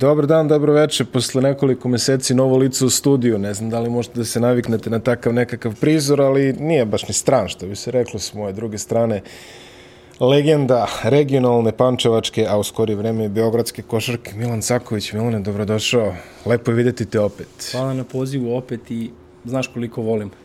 Dobar dan, dobro večer. Posle nekoliko meseci novo lice u studiju. Ne znam da li možete da se naviknete na takav nekakav prizor, ali nije baš ni stran, što bi se reklo s moje druge strane. Legenda regionalne pančevačke, a u skori vreme i beogradske košarke, Milan Caković. Milane, dobrodošao. Lepo je videti te opet. Hvala na pozivu opet i znaš koliko volim.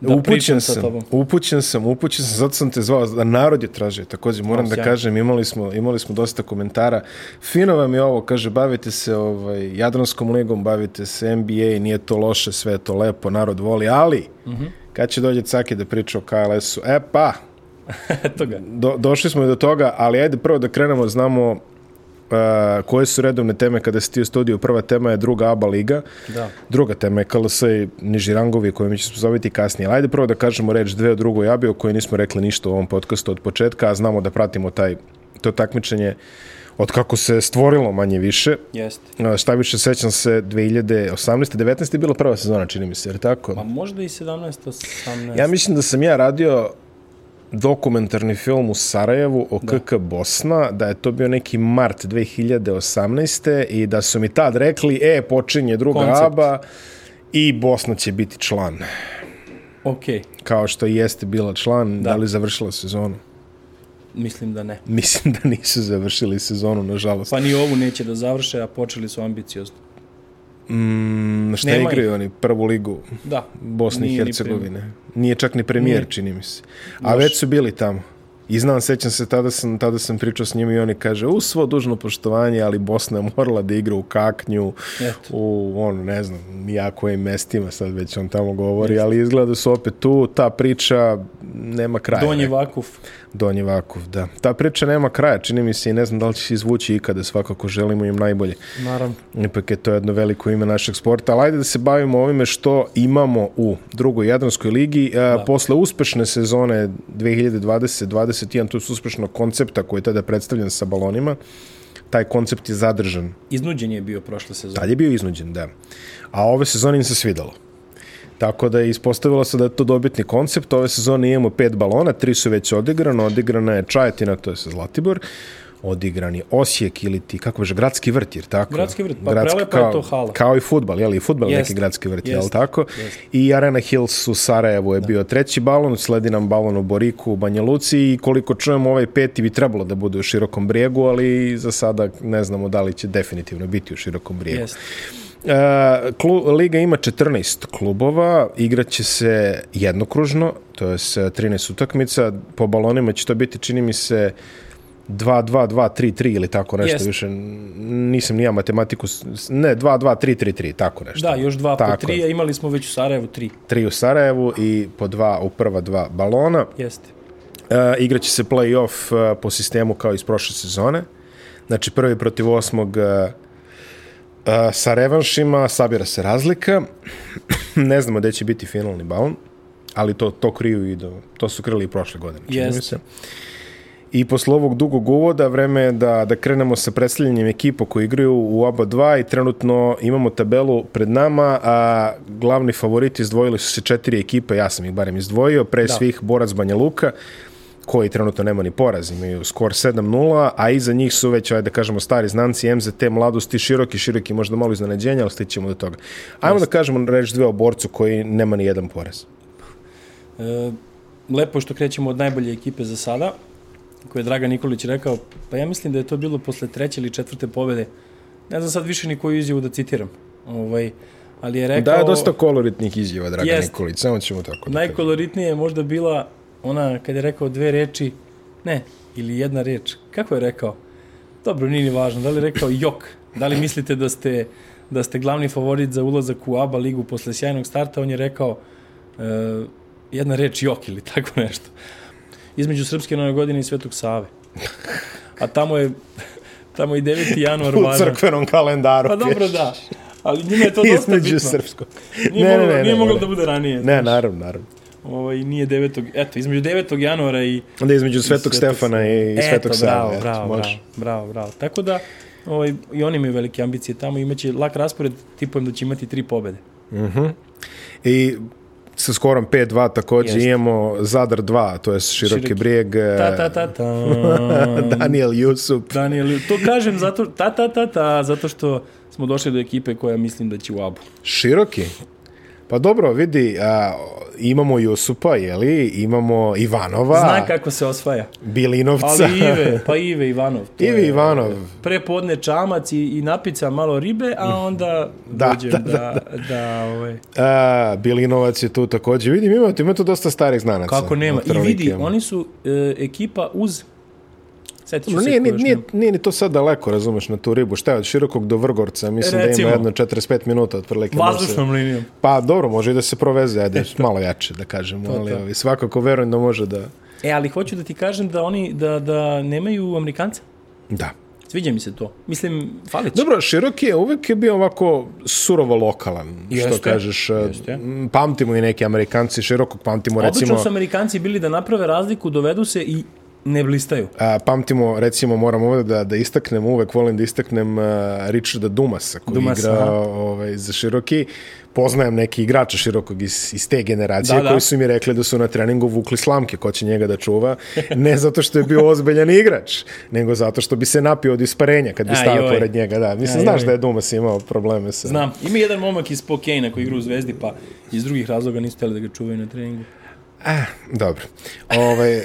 Da upućen pričam sa sam, tobom. upućen sam, upućen sam, zato sam te zvao, da narod je tražio, takođe moram No, da sjajno. kažem, imali smo, imali smo dosta komentara, fino vam je ovo, kaže, bavite se ovaj, Jadranskom ligom, bavite se NBA, nije to loše, sve je to lepo, narod voli, ali, Mhm. kad će dođe Caki da priča o KLS-u, e pa, Eto ga. do, došli smo i do toga, ali ajde prvo da krenemo, znamo uh, koje su redovne teme kada si ti u studiju, prva tema je druga ABA liga, Da. Druga tema je KLS i niži rangovi koje mi ćemo zoviti kasnije. Ali Ajde prvo da kažemo reč dve o drugoj abi o kojoj nismo rekli ništa u ovom podcastu od početka, a znamo da pratimo taj, to takmičenje od kako se stvorilo manje više. Jeste. E, Šta više sećam se 2018. 19. je bila prva sezona čini mi se, jer Pa tako? možda i 17, 18. Ja mislim da sam ja radio dokumentarni film u Sarajevu o KK Bosna, da je to bio neki mart 2018. i da su mi tad rekli, e, počinje druga Koncept. aba i Bosna će biti član. Ok, Kao što i jeste bila član, da, Da. li završila sezonu? mislim da ne. Mislim da nisu završili sezonu, nažalost. Pa ni ovu neće da završe, a počeli su ambiciozno. Mm, šta nema igraju oni? Prvu ligu Da. Bosne i Nije ni Hercegovine. Nije čak ni premijer, Nije. čini mi se. A već su bili tamo. I znam, sećam se, tada sam, tada sam pričao s njima i oni kaže, u svo dužno poštovanje, ali Bosna je morala da igra u Kaknju, Eto. u, ono, ne znam, ja kojim mestima sad već on tamo govori, ali izgleda da su opet tu, ta priča nema kraja. Donji Vakuf. Donji Vakuf, da. Ta priča nema kraja, čini mi se i ne znam da li će se izvući ikada, svakako želimo im najbolje. Naravno. Ipak je to jedno veliko ime našeg sporta, ali ajde da se bavimo ovime što imamo u drugoj Jadranskoj ligi. E, Posle uspešne sezone 2020-2021, to su uspešnog koncepta koji je tada predstavljen sa balonima, taj koncept je zadržan. Iznuđen je bio prošle sezone. Tad je bio iznuđen, da. A ove sezone im se svidalo. Tako da je ispostavilo se da je to dobitni koncept. Ove sezone imamo pet balona, tri su već odigrano. Odigrana je Čajetina, to je sa Zlatibor. Odigran je Osijek ili ti, kako beže, gradski vrt, jer tako? Gradski vrt, pa prelepa je kao- to hala. Kao i futbal, jel? I futbal je neki Jeste, gradski vrt, jel jeste, tako? jeste. I Arena Hills u Sarajevu Da. je bio treći balon, sledi nam balon u Boriku, u Banja Luci i koliko čujemo ovaj peti bi trebalo da bude u Širokom brijegu, ali za sada ne znamo da li će definitivno biti u Širokom brijegu. Jeste. E, klu, Liga ima 14 klubova, igraće se jednokružno, to je s 13 utakmica, po balonima će to biti, čini mi se, 2-2-2-3-3 ili tako nešto Jeste. više, n- nisam ni ja matematiku, s- s- ne, 2-2-3-3-3, tako nešto. Da, još dva po Tako tri, je. a imali smo već u Sarajevu tri. Tri u Sarajevu i po dva u prva dva balona. Jeste. E, igraće se play-off e, po sistemu kao iz prošle sezone. Znači prvi protiv osmog e, e, sa revanšima, sabira se razlika. ne znamo gde će biti finalni balon, ali to, to kriju i do, to su krili i prošle godine. čini mi Jeste. se. I posle ovog dugog uvoda vreme je da, da krenemo sa predstavljanjem ekipa koji igraju u oba dva i trenutno imamo tabelu pred nama, a glavni favoriti izdvojili su se četiri ekipe, ja sam ih barem izdvojio, pre da. Da. svih Borac Banja Luka, koji trenutno nema ni poraz, imaju skor 7-0, a iza njih su već, ajde da kažemo, stari znanci MZT, mladost i široki, široki možda malo iznenađenja, ali stićemo do toga. Ajmo da kažemo reč dve o borcu koji nema ni jedan poraz. E, lepo je što krećemo od najbolje ekipe za sada, koje je Dragan Nikolić rekao, pa ja mislim da je to bilo posle treće ili četvrte pobede. Ne znam sad više ni koju izjavu da citiram. Ovaj, ali je rekao... Da je dosta koloritnih izjava, Dragan Jest. Nikolić, samo ćemo tako da kažemo. Najkoloritnije je možda bila ona kad je rekao dve reči, ne, ili jedna reč. Kako je rekao? Dobro, nije ni važno. Da li je rekao jok? Da li mislite da ste, da ste glavni favorit za ulazak u ABA ligu posle sjajnog starta? On je rekao e, jedna reč jok ili tako nešto. Između Srpske nove godine i Svetog Save. A tamo je tamo i 9. januar U važan. crkvenom kalendaru. Pa dobro da, ali njima je to dosta bitno. Između srpskog. Nije, ne, moglo, ne, ne, nije moglo da bude ranije. Ne, naravno, naravno. Ovaj, nije 9. Eto, između 9. januara i... Onda Da, između Svetog Svetog Stefana i i Svetog eto, Save. bravo, eto, bravo, bravo, može. bravo, bravo. Tako da, ovaj, i oni imaju velike ambicije tamo, imaće lak raspored, tipujem da će imati tri pobede. I sa skorom 5-2 takođe Jeste. imamo Zadar 2, to je Široki, Široki. brijeg, eh, Ta, ta, ta, ta. Daniel Jusup. Daniel, to kažem zato, ta, ta, ta, ta, zato što smo došli do ekipe koja mislim da će u abu. Široki? Pa dobro, vidi, a, imamo Jusupa, jeli, imamo Ivanova, Zna kako se osvaja. Bilinovca, Ali Ive, pa Ive Ivanov. to Ivi je- Ivanov. Prepodne čamac i, i napica malo ribe, a onda Da, dođem da, da, da, da, ovaj, A, Eh, Bilinovac je tu takođe. Vidim, ima tu, ima tu dosta starih znanaca. kako nema. I Otprilike. vidi, oni su e, ekipa uz... Setit ću No, se nije, ko nije, još nije, nema. nije ni to sad daleko, razumeš, na tu ribu. Šta je, od Širokog do Vrgorca, mislim Recimo. da ima jedno 45 minuta otprilike. Može Vazdušnom linijom. se- Pa dobro, može i da se proveze, ajde, malo jače da kažemo, ali ovi, svakako verujem da može da... E, ali hoću da ti kažem da oni, da, da nemaju Amerikanca. Da. Sviđa mi se to. Mislim, fali će. Dobro, Široki je uvek je bio ovako surovo lokalan, što Jeste, kažeš. jeste. m, Pamtimo i neke Amerikanci Širokog, pamtimo recimo... Obično su Amerikanci bili da naprave razliku, dovedu se i ne blistaju. A, pamtimo, recimo, moram ovde da, da istaknem, uvek volim da istaknem uh, Richarda Dumasa, koji Dumas, Dumas, igra aha. ovaj, za široki. Poznajem neki igrača širokog iz, iz te generacije, Da, da, da. da. koji su mi rekli da su na treningu vukli slamke, ko će njega da čuva, ne zato što je bio ozbiljan igrač, nego zato što bi se napio od isparenja kad bi Aj, stao joj. pored njega. Da. Mislim, Aj, znaš joj. da je Dumas imao probleme sa... Znam, ima jedan momak iz Spokane koji igra u Zvezdi, pa iz drugih razloga nisu hteli da ga čuvaju na treningu. Ah, dobro. Ovaj,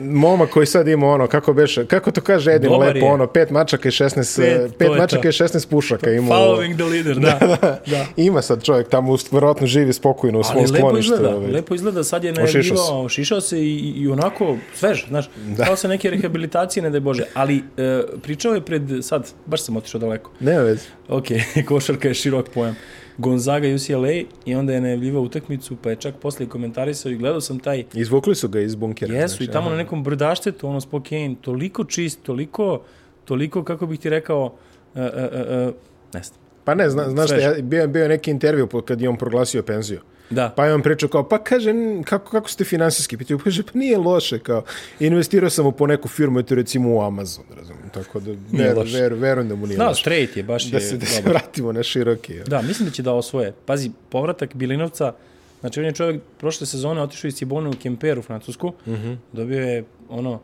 moma koji sad ima ono, kako beše, kako to kaže Edin Dobar lepo, je. ono, pet mačaka i 16, Pet, pet, to je pet to. mačaka i 16 pušaka ima. u- Following the leader, da. da, da. Ima sad čovjek tamo, us- verovatno živi spokojno u svom Ali lepo skloništu. izgleda, ovaj. lepo izgleda, sad je Ošišao najavljivao, ošišao se i, i onako svež, znaš, da. kao se neke rehabilitacije, ne daj Bože, ali e, pričao je pred, sad, baš sam otišao daleko, Nema veze. ok, košarka je širok pojam, Gonzaga UCLA i onda je najavljivao utakmicu, pa je čak posle komentarisao i gledao sam taj Izvukli su ga iz bunkera. znači. Jesu, i tamo aha. na nekom brdaštetu, ono Spokane, toliko čist, toliko, toliko, kako bih ti rekao, uh, uh, uh, ne znam. Pa ne, zna, znaš šta, Sveže. ja, bio, bio je neki intervju po- kad je on proglasio penziju. Da. Pa je on pričao kao, pa kaže, n- kako, kako ste finansijski? Pitaju, pa kaže, pa nije loše, kao, investirao sam u po neku firmu, eto recimo u Amazon, razumijem, tako da veru, loše. veru, verujem da mu nije da, loše. straight je, baš Da je se, da se dobar. vratimo na široki. Da, mislim da će da osvoje. Pazi, povratak Bilinovca, znači on je čovjek prošle sezone otišao iz Cibone u Kemperu u Francusku, mm Mhm. -hmm. dobio je ono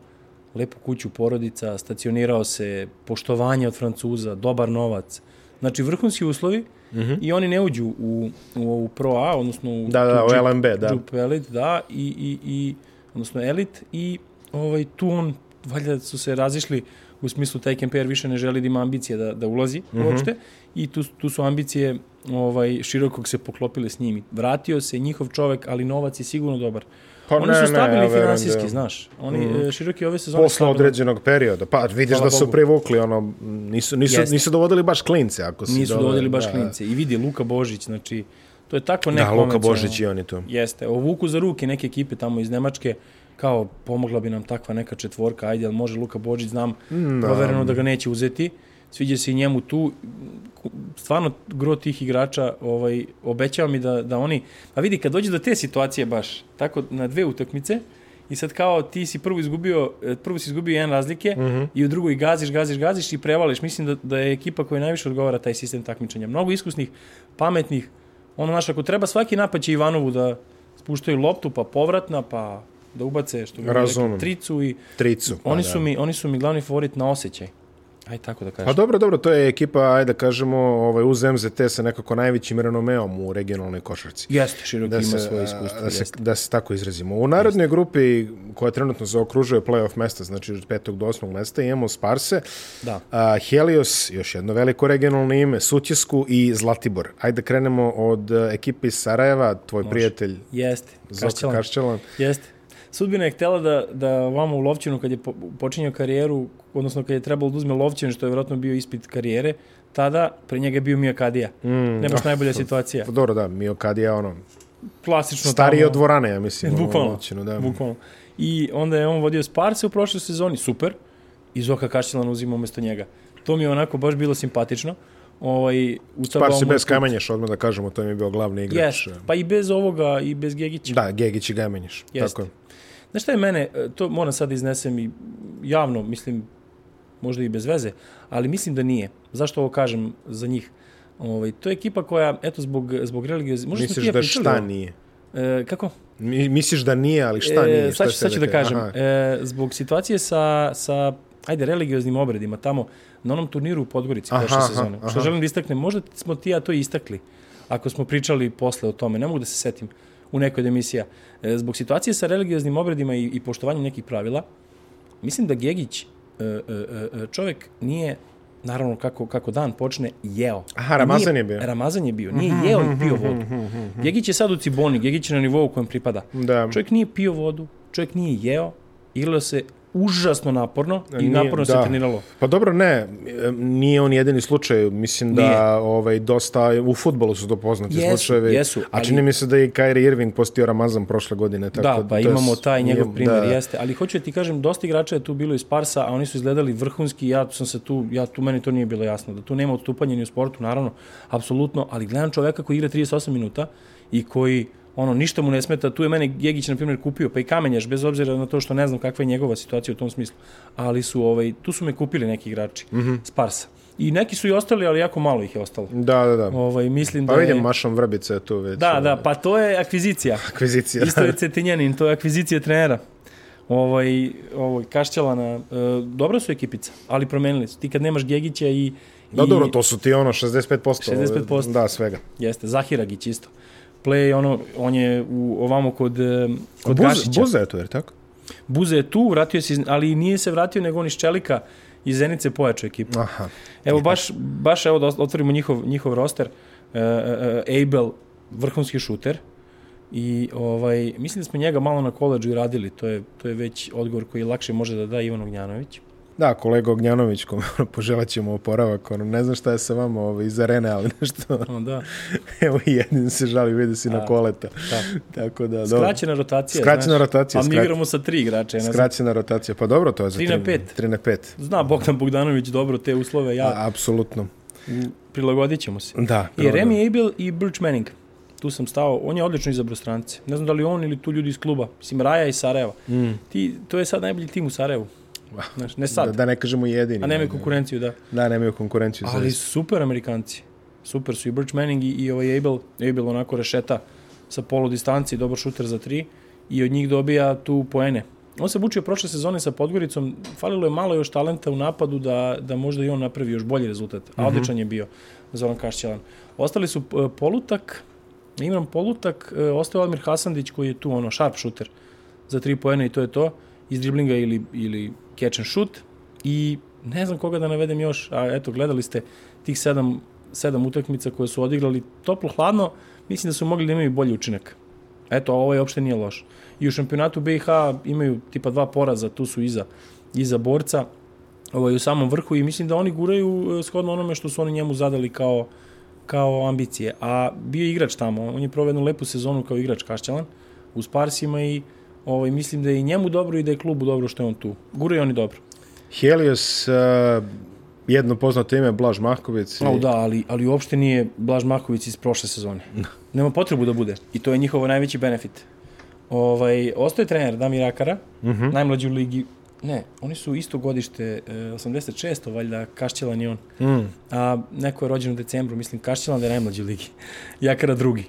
lepu kuću porodica, stacionirao se, poštovanje od Francuza, dobar novac. Znači vrhunski uslovi mm -hmm. i oni ne uđu u, u ovu Pro A, odnosno u Mhm. Da, da, tu u Jeep- LMB, da. Jupe Elite, da, i, i, i, odnosno Elite i ovaj, tu on, valjda su se razišli u smislu taj Kemper više ne želi da ima ambicije da, da ulazi mm Mhm. -hmm. uopšte i tu, tu su ambicije ovaj, širokog se poklopile s njim. Vratio se njihov čovek, ali novac je sigurno dobar. Pa Oni ne, su ne, stabilni ja ne, verujem finansijski, da- znaš. Oni mm -hmm. široki ove sezone... Posle stabilni. određenog perioda. Pa vidiš Hvala da su Bogu. privukli, ono, nisu, nisu, Jeste. nisu dovodili baš klince. Ako si Nisu doveo, dovodili baš da. klince. I vidi, Luka Božić, znači, to je tako Da, Luka nekonvencionalno. Božić i on je tu. Jeste, o vuku za ruke neke ekipe tamo iz Nemačke, kao pomogla bi nam takva neka četvorka, ajde, ali može Luka Božić, znam, no. provereno da ga neće uzeti, sviđa se i njemu tu, stvarno gro tih igrača ovaj, obećava mi da, da oni, a vidi, kad dođe do te situacije baš, tako na dve utakmice, I sad kao ti si prvo izgubio, eh, prvo si izgubio jedan razlike mm Mhm. -hmm. i u drugoj gaziš, gaziš, gaziš i prevališ. Mislim da, da je ekipa koja najviše odgovara taj sistem takmičenja. Mnogo iskusnih, pametnih, ono naš, ako treba svaki napad će Ivanovu da spuštaju loptu, pa povratna, pa da ubace što bi mi rekli, Razumem. tricu i Tricu. oni, pa, su mi, oni su mi glavni favorit na osjećaj. Aj tako da Pa kažem. dobro, dobro, to je ekipa, ajde da kažemo, ovaj, uz MZT sa nekako najvećim renomeom u regionalnoj košarci. Jeste, širok da Da ima se, svoje iskustvo. da, se, jeste. da se tako izrazimo. U narodnoj grupi koja trenutno zaokružuje playoff mesta, znači od petog do osmog mesta, imamo Sparse, Da. a, Helios, još jedno veliko regionalno ime, Sutjesku i Zlatibor. Ajde krenemo od e, ekipe iz Sarajeva, tvoj Može. prijatelj Jeste. Zoka Kašćelan. Kašćelan. Jeste. Sudbina je htela da, da vama u Lovćinu, kad je po- počinjao karijeru, odnosno kad je trebalo da uzme Lovćin, što je vjerojatno bio ispit karijere, tada pre njega je bio Mijakadija. Mm, ne baš najbolja situacija. Pa dobro, da, Miokadija, ono, Klasično stariji tamo- od dvorane, ja mislim. ono, Bukvalno. Moćino, da. Bukvalno. I onda je on vodio Sparse u prošloj sezoni, super, i Zoka Kaštelan uzima umesto njega. To mi je onako baš bilo simpatično. Ovaj, Par utabao se mu- bez Kamenješ, odmah da kažemo, to im je bio glavni igrač. Yes, pa i bez ovoga, i bez Gegića. Da, Gegić i Kamenješ. Jeste. Tako je. Znaš šta je mene, e, to moram sad da iznesem i javno, mislim, možda i bez veze, ali mislim da nije. Zašto ovo kažem za njih? Ovaj, to je ekipa koja, eto, zbog, zbog religiozi... Možda smo Misliš ti ja da pričali šta ovo? nije? E, kako? Mi, misliš da nije, ali šta E, nije? Šta sad, ću- ste sad ću da rekli? kažem. Aha. E, zbog situacije sa, sa ajde, religioznim obredima tamo, na onom turniru u Podgorici Aha, prošle aha, sezone, što aha. želim da istaknem, možda smo ti i ja to istakli, ako smo pričali posle o tome, ne mogu da se setim u nekoj od emisija. E, zbog situacije sa religioznim obredima i, i poštovanjem nekih pravila, mislim da Gegić, e, e, e, e, čovek nije naravno kako, kako dan počne, jeo. Aha, Ramazan Nije- je bio. Ramazan je bio, nije Mhm, jeo i pio vodu. Gegić je sad u Ciboni, Gegić je na nivou u kojem pripada. Da. Čovjek nije pio vodu, čovjek nije jeo, igralo se užasno naporno i Nije- naporno se da. treniralo. Pa dobro, ne, e, nije on jedini slučaj, mislim da Nije. ovaj, dosta, u futbolu su to poznati Jesu, slučajevi, jesu, a ali- čini mi se da je i Kyrie Irving postio Ramazan prošle godine. Tako, Da, to pa je- imamo taj njegov nije- primjer, da. jeste. Ali hoću da ti kažem, dosta igrača je tu bilo iz Parsa, a oni su izgledali vrhunski, ja sam se tu, ja tu, meni to nije bilo jasno, da tu nema odstupanja ni u sportu, naravno, apsolutno, ali gledam čoveka koji igra 38 minuta i koji, ono, ništa mu ne smeta, tu je mene Gegić, na primjer, kupio, pa i Kamenjaš, bez obzira na to što ne znam kakva je njegova situacija u tom smislu, ali su, ovaj, tu su me kupili neki igrači mm Mhm. -hmm. s Parsa. I neki su i ostali, ali jako malo ih je ostalo. Da, da, da. Ovaj, mislim Pa da je... vidim, Mašom Vrbica je tu već. Da, ovaj, da, pa to je akvizicija. Akvizicija. Isto je Cetinjanin, to je akvizicija trenera. Ovaj, ovaj, Kašćalana, e, dobra su ekipica, ali promenili su. Ti kad nemaš Gegića i... Da, i, dobro, to su ti ono 65%. 65%. Da, svega. Jeste, Zahiragić isto. Play, ono, on je u, ovamo kod, e, kod Buza, Gašića. Buza je tu, jer tako? Buze je tu, vratio se, iz, ali nije se vratio, nego on iz Čelika iz Zenice pojačao ekipu. Aha. Evo baš, baš evo da otvorimo njihov, njihov roster. E, e, e, Abel, vrhunski šuter. I ovaj, mislim da smo njega malo na koleđu i radili. To je, to je već odgovor koji lakše može da da Ivan Ognjanović. Da, kolega Ognjanović, kome ono, poželat ćemo oporavak, ono, ne znam šta je sa vama ovaj, iz arene, ali nešto, Ono, da, evo i jedin se žali, vidi si na A, koleta. da. Tako da, dobro. Skraćena rotacija. Skraćena znaš. rotacija, A mi skrat- igramo sa tri igrača. Ja ne znam. Skraćena rotacija, pa dobro, to je za Tri na pet. 3 na 5. Zna Bogdan Bogdanović dobro te uslove. Ja, A, apsolutno. prilagodit ćemo se. Da. I Remy Abel i Birch Manning. Tu sam stao, on je odlično izabrao strance. Ne znam da li on ili tu ljudi iz kluba. Mislim, Raja iz Sarajeva. Mm. Ti, to je sad najbolji tim u Sarajevu. Znaš, ne sad, Da, da ne kažemo jedini. a nemaju konkurenciju, da. Da, nemaju konkurenciju. Ali zaista. super amerikanci. Super su i Birch Manning i, i ovaj Abel. Abel onako rešeta sa polu distanci, dobar šuter za tri. I od njih dobija tu poene. On se bučio prošle sezone sa Podgoricom, falilo je malo još talenta u napadu da, da možda i on napravi još bolji rezultat. A odličan je bio Zoran Kašćelan. Ostali su e, Polutak, Imran Polutak, e, ostao je Admir Hasandić koji je tu ono sharp šuter za tri poene i to je to. Iz driblinga ili, ili catch and shoot. I ne znam koga da navedem još, a eto, gledali ste tih sedam, sedam utakmica koje su odigrali toplo, hladno, mislim da su mogli da imaju bolji učinak. Eto, a ovaj uopšte nije loš. I u šampionatu BiH imaju tipa dva poraza, tu su iza, iza borca, ovaj, u samom vrhu i mislim da oni guraju e, shodno onome što su oni njemu zadali kao, kao ambicije. A bio je igrač tamo, on je proveo jednu lepu sezonu kao igrač Kašćalan u Sparsima i ovaj, mislim da je i njemu dobro i da je klubu dobro što je on tu. Guraju oni dobro. Helios, uh, jedno poznato ime, Blaž Mahković. Au da, ali, ali uopšte nije Blaž Maković iz prošle sezone. Nema potrebu da bude. I to je njihov najveći benefit. Ovaj, ostaje trener Damir Akara, uh -huh. najmlađi u ligi. Ne, oni su isto godište, e, 86. valjda, Kašćelan i on. Mm. A neko je rođen u decembru, mislim, Kašćelan da je najmlađi u ligi. Jakara drugi.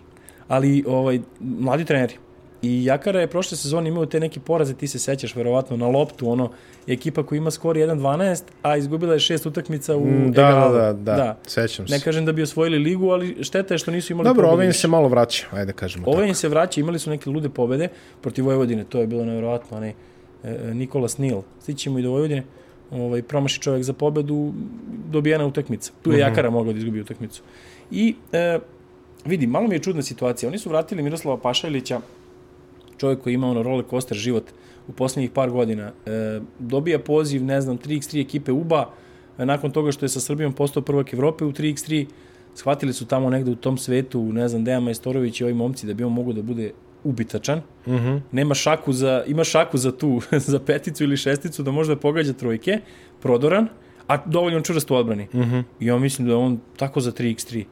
Ali, ovaj, mladi treneri. I Jakara je prošle sezone imao te neke poraze, ti se sećaš verovatno, na loptu, ono, ekipa koja ima skor 1-12, a izgubila je šest utakmica u Mm, Da, da, egalu. da, da, da, sećam se. Ne kažem e, da bi osvojili ligu, ali šteta je što nisu imali Dobro, pobede ovaj im više. se malo vraća, ajde da kažemo Ove im se vraća, imali su neke lude pobede protiv Vojvodine, to je bilo nevjerojatno, onaj e, e, Nikola Snil, stićemo i do Vojvodine, ovaj, promaši čovjek za pobedu, dobijena utakmica. Tu Mhm. je Jakara mogao da izgubi utakmicu. I e, vidi, malo mi je čudna situacija, oni su vratili Miroslava Pašalića, čovjek koji ima ono roller coaster život u posljednjih par godina, e, dobija poziv, ne znam, 3x3 ekipe UBA, e, nakon toga što je sa Srbijom postao prvak Evrope u 3x3, shvatili su tamo negde u tom svetu, ne znam, Dejan Majstorović i ovi momci da bi on mogao da bude ubitačan. Mm -hmm. Nema šaku za, ima šaku za tu, za peticu ili šesticu da može da pogađa trojke, prodoran, a dovoljno čvrst u odbrani. Mm -hmm. I ja mislim da je on tako za 3x3.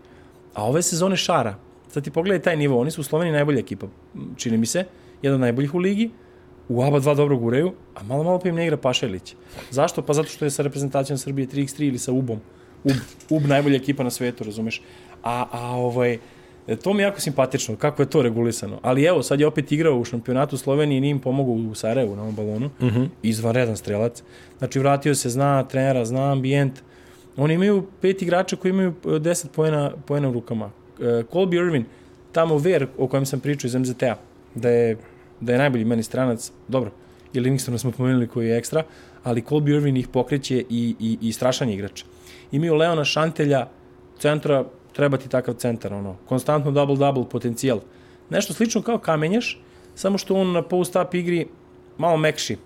A ove sezone šara. Sad ti pogledaj taj nivo, oni su u Sloveniji najbolja ekipa, m, čini mi se, jedan od najboljih u ligi, u ABA dva dobro guraju, a malo malo pa im ne igra Pašelić. Zašto? Pa zato što je sa reprezentacijom Srbije 3x3 ili sa UB-om. UB, UB najbolja ekipa na svetu, razumeš? A, a ovaj, E, to mi je jako simpatično, kako je to regulisano. Ali evo, sad je opet igrao u šampionatu Slovenije i nije im pomogao u Sarajevu na ovom balonu. Mm -hmm. Izvanredan strelac. Znači, vratio se, zna trenera, zna ambijent. Oni imaju pet igrača koji imaju e, 10 poena, poena u rukama. E, Colby Irvin, tamo Ver, o kojem sam pričao iz MZT-a, da je, da je najbolji meni stranac, dobro, i Livingstona smo pomenuli koji je ekstra, ali Colby Irvin ih pokreće i, i, i strašan je igrač. Imaju Leona Šantelja, centra, treba ti takav centar, ono, konstantno double-double potencijal. Nešto slično kao kamenjaš, samo što on na post-up igri malo mekši.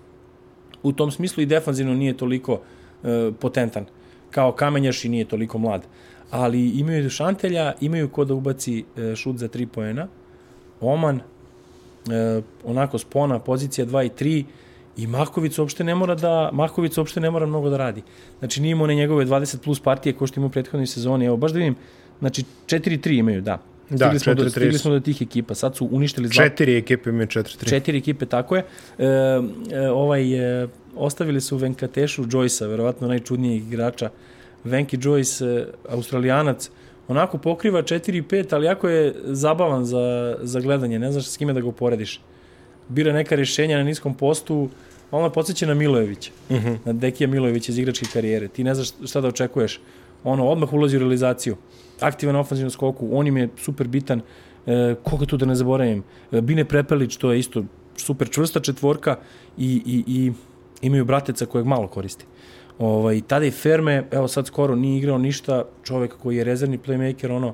U tom smislu i defanzivno nije toliko e, potentan. Kao kamenjaš i nije toliko mlad. Ali imaju šantelja, imaju ko da ubaci e, šut za 3 poena. Oman, e, onako spona, pozicija 2 i 3 i Maković uopšte ne mora da Maković uopšte ne mora mnogo da radi. Znači nije imao ne njegove 20 plus partije kao što je imao u prethodnoj sezoni. Evo baš da vidim. Znači 4-3 imaju, da. Da, Stigli smo, do, 4-3 stigli su. smo do tih ekipa. Sad su uništili dva Četiri ekipe imaju 4-3. Četiri ekipe, tako je. E, e, ovaj, e, ostavili su Venkatešu Joyce-a, verovatno najčudnijeg igrača. Venki Joyce, e, australijanac, onako pokriva 4-5, ali jako je zabavan za, za gledanje, ne znaš s kime da ga uporediš. Bira neka rješenja na niskom postu, malo me podsjeća na Milojevića, uh -huh. na Dekija Milojevića iz igračke karijere. Ti ne znaš šta da očekuješ. Ono, odmah ulazi u realizaciju. Aktivan ofanzivno skoku, on im je super bitan. E, koga tu da ne zaboravim? E, Bine Prepelić, to je isto super čvrsta četvorka i, i, i imaju brateca kojeg malo koristi. Ovaj, tada je Ferme, evo sad skoro nije igrao ništa, čovek koji je rezervni playmaker, ono,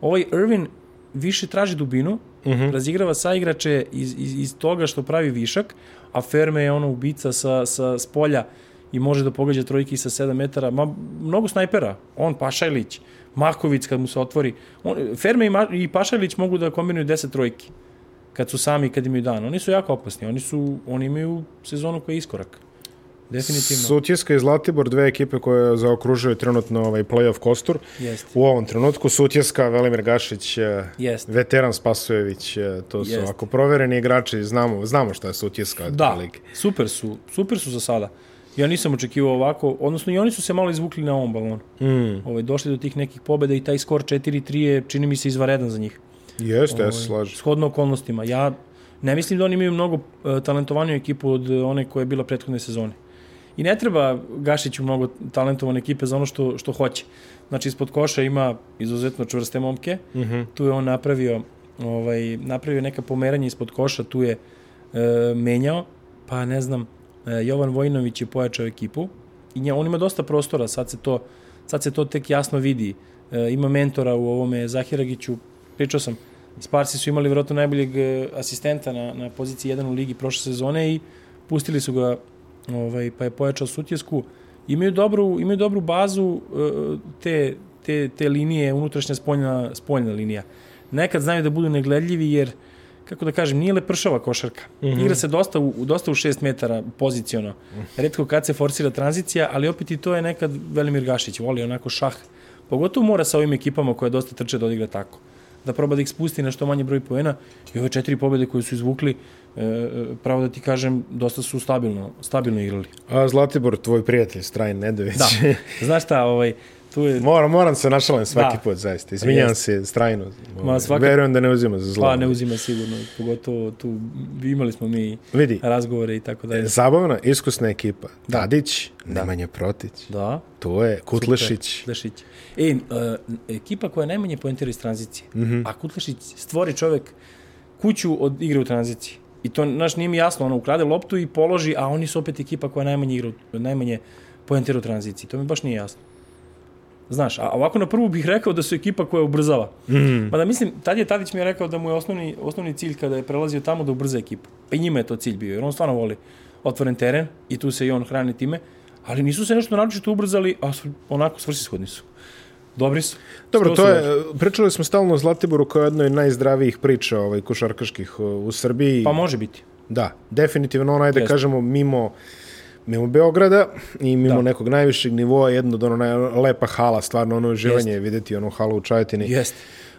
ovaj Irvin više traži dubinu, mm -hmm. razigrava saigrače iz, iz, iz toga što pravi višak, a Ferme je ono ubica sa, sa s polja i može da pogađa trojke i sa 7 metara. Ma, mnogo snajpera. On, Pašajlić, Maković kad mu se otvori. On, Ferme i, Ma, i Pašajlić mogu da kombinuju 10 trojki kad su sami, kad imaju dan. Oni su jako opasni. Oni, su, oni imaju sezonu koja je iskorak. Definitivno. Su... Sutjeska i Zlatibor, dve ekipe koje zaokružuju trenutno ovaj playoff kostur. Jeste. U ovom trenutku Sutjeska, Velimir Gašić, eh, Jeste. veteran Spasojević, eh, to su Jeste. ako provereni igrači, znamo, znamo šta je Sutjeska od Da, lige. super su, super su za sada. Ja nisam očekivao ovako, odnosno i oni su se malo izvukli na ovom balonu. Mm. Ovaj, došli do tih nekih pobjeda i taj skor 4-3 je, čini mi se, izvaredan za njih. Jeste, ja Ovaj. se slažem. Shodno okolnostima. Ja ne mislim da oni imaju mnogo e, talentovaniju ekipu od e, one koja je bila prethodne sezone. I ne treba Gašiću mnogo talentovane ekipe za ono što, što hoće. Znači, ispod koša ima izuzetno čvrste momke. Mm -hmm. Tu je on napravio, ovaj, napravio neka pomeranja ispod koša, tu je e, menjao, pa ne znam, e, Jovan Vojinović je pojačao ekipu i nja, on ima dosta prostora, sad se to, sad se to tek jasno vidi. E, ima mentora u ovome Zahiragiću, pričao sam, Sparsi su imali vjerojatno najboljeg e, asistenta na, na poziciji 1 u ligi prošle sezone i pustili su ga, ovaj, pa je pojačao sutjesku. Imaju dobru, imaju dobru bazu e, te, te, te linije, unutrašnja spoljna, spoljna linija. Nekad znaju da budu negledljivi jer kako da kažem, nije lepršava košarka. Mm -hmm. Igra se dosta u, u- dosta u 6 metara poziciono. Redko kad se forsira tranzicija, ali opet i to je nekad Velimir Gašić, voli onako šah. Pogotovo mora sa ovim ekipama koje dosta trče da odigra tako. Da proba da ih spusti na što manje broj poena i ove četiri pobjede koje su izvukli, e, e, pravo da ti kažem, dosta su stabilno, stabilno igrali. A Zlatibor, tvoj prijatelj, Strajn Nedović. Da, znaš šta, ovaj, tu je... moram, moram se našalim svaki Da. da. put, zaista. Izminjam Jeste. se Strajnu. Ovaj, svaka- Verujem da ne uzima za zlo. Pa ne uzima sigurno, pogotovo tu imali smo mi Vidi. E, razgovore i tako dalje. Zabavna, iskusna ekipa. Tadić, Nemanja Protić. Da. To je Kutlešić. Kutlešić. E, uh, ekipa koja najmanje poentira iz tranzicije, mm -hmm. a Kutlešić stvori čovek kuću od igre u tranziciji. I to, znaš, nije mi jasno, ono, ukrade loptu i položi, a oni su opet ekipa koja najmanje, igra, u- najmanje poentira u tranziciji. To mi baš nije jasno. Znaš, a ovako na prvu bih rekao da su ekipa koja ubrzava. Hmm. Mm. Pa da mislim, tad je Tadić mi je rekao da mu je osnovni, osnovni cilj kada je prelazio tamo da ubrza ekipu. Pa i njima je to cilj bio, jer on stvarno voli otvoren teren i tu se i on hrani time. Ali nisu se nešto naročito ubrzali, a su, onako svrsishodni su. Dobri su. Dobro, Skoro su to dobri. je, pričali smo stalno o Zlatiboru kao jednoj od najzdravijih priča ovaj, košarkaških o, u Srbiji. Pa može biti. Da, definitivno onaj da Jeste. kažemo mimo mimo Beograda i mimo da. Da. nekog najvišeg nivoa, jedno od ono naj- lepa hala, stvarno ono uživanje je videti onu halu u Čajetini. Jeste.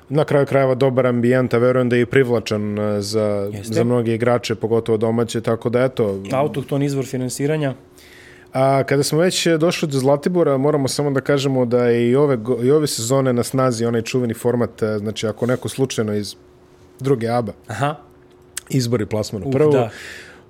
Na kraju krajeva dobar ambijent, a verujem da je i privlačan e, za, Jeste. za mnoge igrače, pogotovo domaće, tako da eto, Autohton izvor finansiranja. A kada smo već došli do Zlatibora, moramo samo da kažemo da je i ove, go- i ove sezone na snazi onaj čuveni format, e, znači ako neko slučajno iz druge ABA Aha, izbori plasman u Uh, prvu, da.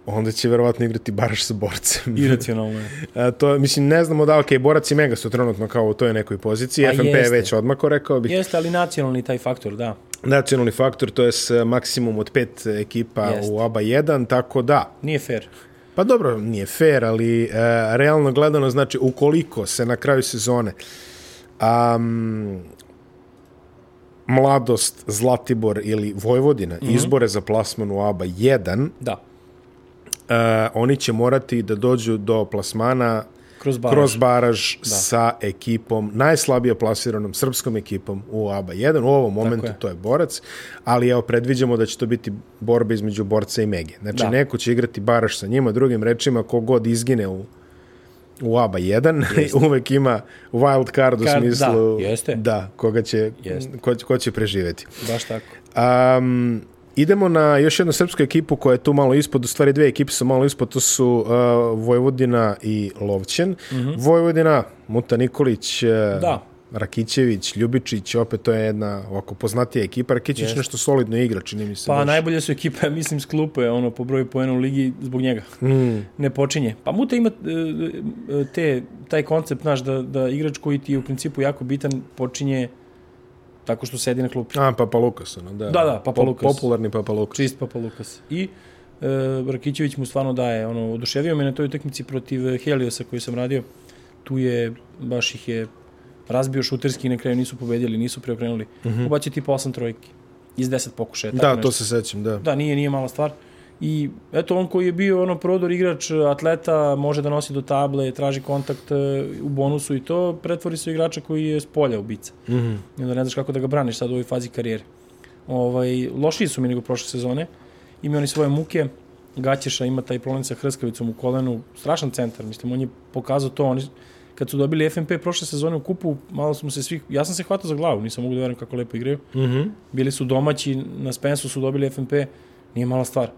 onda će verovatno igrati baraš sa borcem. iracionalno je. A, to, je- mislim, ne znamo da, ok, Borac i Mega su trenutno kao u toj nekoj poziciji, Pa FNP je jeste. već odmako, rekao bih. Jeste, ali nacionalni taj faktor, da. Nacionalni faktor, to je s e, maksimum od pet ekipa Jeste. u ABA 1, tako da, Nije fair. Pa dobro, nije fair, ali e, realno gledano, znači, ukoliko se na kraju sezone um, Mladost, Zlatibor ili Vojvodina izbore za plasman u ABA 1, Da. e, oni će morati da dođu do plasmana Kroz baraž. Da. kroz baraž sa ekipom, najslabije plasiranom srpskom ekipom u ABA 1. U ovom momentu je. to je borac, ali evo predviđamo da će to biti borba između borca i Mege. Znači Da. neko će igrati baraž sa njima, drugim rečima kogod izgine u u ABA 1 uvek ima wild card u Card, da, smislu jeste. da, koga će, Jeste. ko, ko će preživeti. Baš tako. Um, idemo na još jednu srpsku ekipu koja je tu malo ispod, u stvari dve ekipe su malo ispod, to su uh, Vojvodina i Lovćen. Vojvodina, Muta Nikolić, uh, Mhm. Da. Rakićević, Ljubičić, opet to je jedna ovako poznatija ekipa. Rakićević nešto solidno igra, čini mi se. Pa baš. najbolje su ekipe, mislim, s klupe, ono, po broju poena u ligi zbog njega. Mm. Ne počinje. Pa Muta ima e, e, te, taj koncept, znaš, da, da igrač koji ti je u principu jako bitan počinje tako što sedi na klupi. A, Papa Lukas, ono, da. Da, da, Papa Po- Lukas. Popularni Papa Lukas. Čist Papa Lukas. I e, Rakićević mu stvarno daje, ono, oduševio me na toj utakmici protiv Heliosa koju sam radio. Tu je, baš ih je razbio šuterski i na kraju nisu pobedili, nisu preokrenuli. Mm -hmm. Ubacio tipa 8 trojki iz 10 pokušaja. tako Mhm. Da, nešto. to se sećam, da. Da, nije, nije mala stvar. I eto, on koji je bio ono prodor igrač atleta, može da nosi do table, traži kontakt e, u bonusu i to, pretvori se u igrača koji je s polja ubica. Mhm. I onda ne znaš kako da ga braniš sad u ovoj fazi karijere. Ovaj, lošiji su mi nego prošle sezone. Imaju oni svoje muke. Gaćeša ima taj problem sa hrskavicom u kolenu. Strašan centar, mislim, on je pokazao to. Oni, kad su dobili FNP prošle sezone u kupu, malo smo se svih... Ja sam se hvatao za glavu, nisam mogu da verujem kako lepo igraju Mhm. bili su domaći, na Spensu su dobili FNP, nije mala stvar.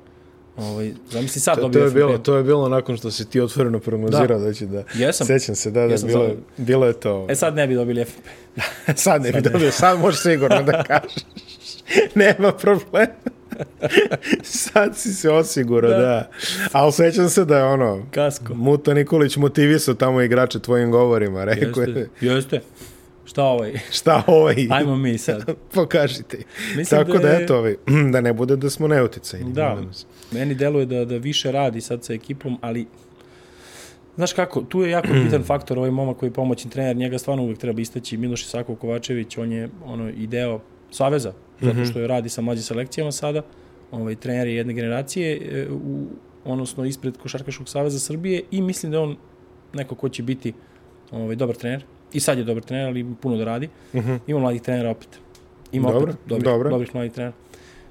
Ovaj, zamisli sad To, dobili to, je FNP. bilo, to je bilo nakon što si ti otvoreno prognozirao da, će da... Jesam. Sećam se, da, da, Jesam bilo, za- bilo je to. ovaj. E sad ne bi dobili FNP. Sad ne bi dobio, sad možeš sigurno da kažeš. Nema problema. Sad si se osigurao, da. Da. Ali sećam se da je ono, Kasko. Muta Nikolić motivisao tamo igrače tvojim govorima. Rekao Jeste, je, jeste. Šta ovaj? šta ovaj, Ajmo mi sad. pokažite. Mislim Tako da, da je- eto, ovaj, da ne bude da smo neuticajni. Da. molim vas. Meni deluje da, da više radi sad sa ekipom, ali Znaš kako, tu je jako bitan faktor ovaj momak koji je pomoćni trener, njega stvarno uvek treba istaći, Miloš Isakov Kovačević, on je ono, i deo Saveza, Mhm. zato što je radi sa mlađim selekcijama sada, ovaj, trener je jedne generacije, e, u, odnosno ispred Košarkaškog Saveza Srbije i mislim da je on neko ko će biti ovaj, dobar trener, i sad je dobar trener, ali puno da radi, ima mladih trenera opet, ima Mhm. Dobro, opet dobrih, dobro. dobrih mladih trenera.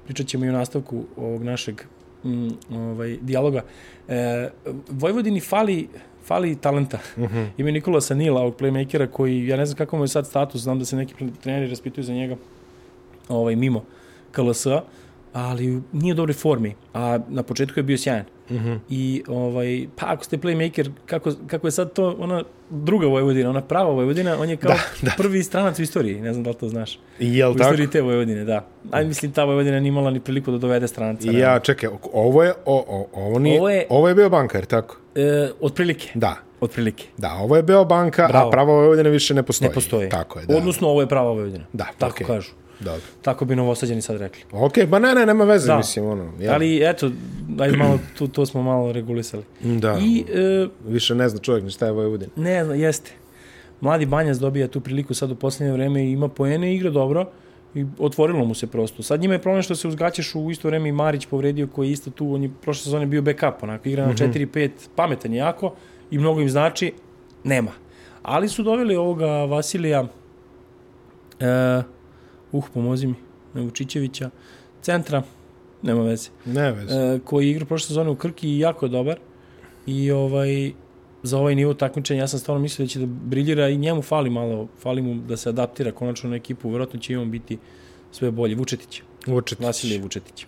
Pričat ćemo i o nastavku ovog našeg mm, ovaj, dijaloga. E, Vojvodini fali, fali talenta. Mm Mhm. -hmm. Ima Nikola Sanila, ovog playmakera, koji, ja ne znam kako mu je sad status, znam da se neki treneri raspituju za njega ovaj, mimo KLS-a, ali nije u dobroj formi, a na početku je bio sjajan. Mm Mhm. -hmm. I ovaj, pa ako ste playmaker, kako, kako je sad to ona druga Vojvodina, ona prava Vojvodina, on je kao da, da. prvi stranac u istoriji, ne znam da li to znaš. Jel U tako? istoriji te Vojvodine, da. Aj, mislim, ta Vojvodina nije imala ni priliku da dovede stranca. realno. Ja, čekaj, ovo je, o, o, ovo, nije, ovo, Ovo je... je- ovo je bio bankar, tako? E, otprilike. Da. Otprilike. Da, ovo je bio banka, a Bravo. pravo Vojvodina više ne postoji. Ne postoji. Tako je, da. Odnosno, ovo je prava Vojvodina. Da, Tako okej. kažu. Dobro. Tako bi novosađeni sad rekli. Ok, Pa ba ne, ne, nema veze, Da. mislim, ono. Ja, Ja. Ali eto, ajde malo, tu, to smo malo regulisali. da, I e, više ne zna čovjek ni šta je Vojvodina. Ne znam, jeste. Mladi Banjac dobija tu priliku sad u posljednje vreme i ima poene, igra dobro i otvorilo mu se prosto. Sad njima je problem što se uzgaćeš u isto vreme i Marić povredio koji je isto tu, on je prošle sezone bio backup, onako igra na 4-5, pametan je jako i mnogo im znači, nema. Ali su doveli ovoga Vasilija, e, uh, pomozi mi, Vučićevića, centra, nema veze Ne veze. e, koji igra prošle sezone u Krki i jako je dobar. I ovaj za ovaj nivo takmičenja ja sam stvarno mislio da će da briljira i njemu fali malo, fali mu da se adaptira konačno na ekipu, verovatno će i on biti sve bolji. Vučetić, Vučetić. Vasilije Vučetić.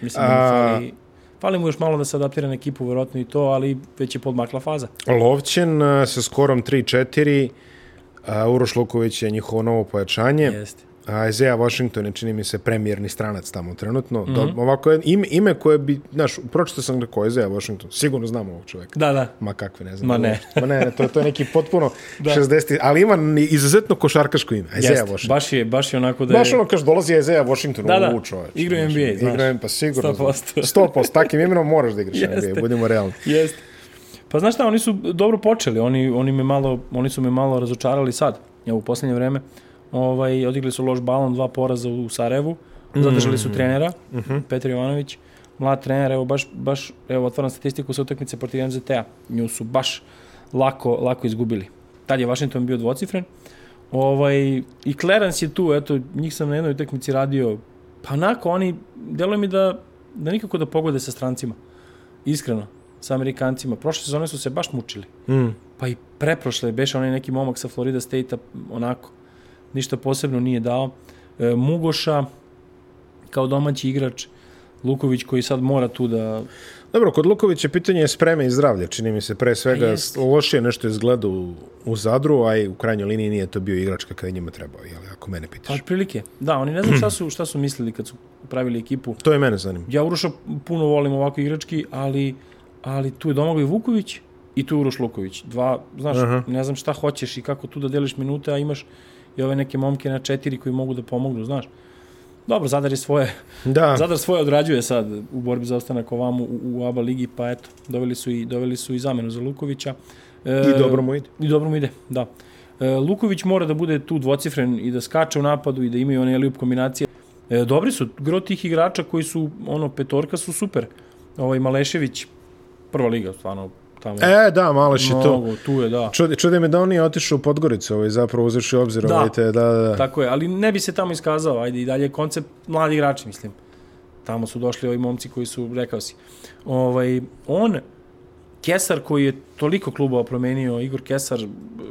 Mislim A- da mu fali, Fali mu još malo da se adaptira na ekipu, verovatno i to, ali već je podmakla faza. Lovćen a, sa skorom 3-4, a, Uroš Luković je njihovo novo pojačanje. Jeste. A Isaiah Washington je, čini mi se, premijerni stranac tamo trenutno. Mm Mhm. -hmm. Do, ovako je, ime, ime koje bi, znaš, pročito sam rekao Isaiah Washington, sigurno znam ovog čoveka. Da, da. Ma kakve, ne znam. da Ma li ne. Da. uopšte. Ma ne, ne, to, je- to je neki potpuno 60. Ali ima ni- izuzetno košarkaško ime. Isaiah Jeste. Washington. Baš je, baš je onako da je... Baš ono kaže dolazi Isaiah Washington Da, da, da. u čoveč. Igra u NBA, znaš. Igra pa sigurno. 100%. 100%. S takvim imenom moraš da igraš u Jeste. NBA, budimo realni. Jeste. Pa znaš šta, oni su dobro počeli, oni, oni, me malo, oni su me malo razočarali sad, evo u poslednje vreme. Ovaj, odigli su loš balon, dva poraza u Sarajevu, zadržali su trenera, Petar Jovanović, mlad trener, evo baš, baš evo, otvaram statistiku sa utakmice protiv MZT-a, nju su baš lako, lako izgubili. Tad je Washington bio dvocifren, Ovaj, I Clarence je tu, eto, njih sam na jednoj utakmici radio. Pa onako, oni, deluje mi da, da nikako da pogode sa strancima. Iskreno, sa Amerikancima. Prošle sezone su se baš mučili. Mm. Pa i preprošle, beše onaj neki momak sa Florida State-a, onako, ništa posebno nije dao. E, Mugoša, kao domaći igrač, Luković koji sad mora tu da... Dobro, kod Lukovića pitanje je spreme i zdravlja, čini mi se pre A svega jest. lošije nešto izgleda u, u Zadru, a i u krajnjoj liniji nije to bio igrač kakav je njima trebao, jel, ako mene Pa pitaš. otprilike, da, oni ne znam šta su, šta su mislili kad su pravili ekipu. To je mene zanima. Ja Uroša puno volim ovako igrački, ali, ali tu je Domagoj Vuković i tu je Uroš Luković. Dva, znaš, Aha. ne znam šta hoćeš i kako tu da deliš minute, a imaš i ove neke momke na četiri koji mogu da pomognu, znaš. Dobro, Zadar je svoje, Da, Zadar svoje odrađuje sad u borbi za ostanak ovamo u, u ABA ligi, pa eto, doveli su i, doveli su i zamenu za Lukovića. E, i dobro mu ide. I dobro mu ide, da. E, Luković mora da bude tu dvocifren i da skače u napadu i da imaju one elijub kombinacije. E, dobri su, gro tih igrača koji su, ono, petorka su super. Ovaj Malešević, prva liga, stvarno, tamo. E, da, Maleš je to. mnogo, tu je, da. Čudi, čudi me da on nije otišao u Podgoricu, ovaj, zapravo uzeš obzir, Da. da. ovaj te, da, da. Tako je, ali ne bi se tamo iskazao, ajde i dalje je koncept mladi igrači, mislim. Tamo su došli ovi momci koji su, rekao si. Ovaj, on, Kesar koji je toliko klubova promenio, Igor Kesar, b-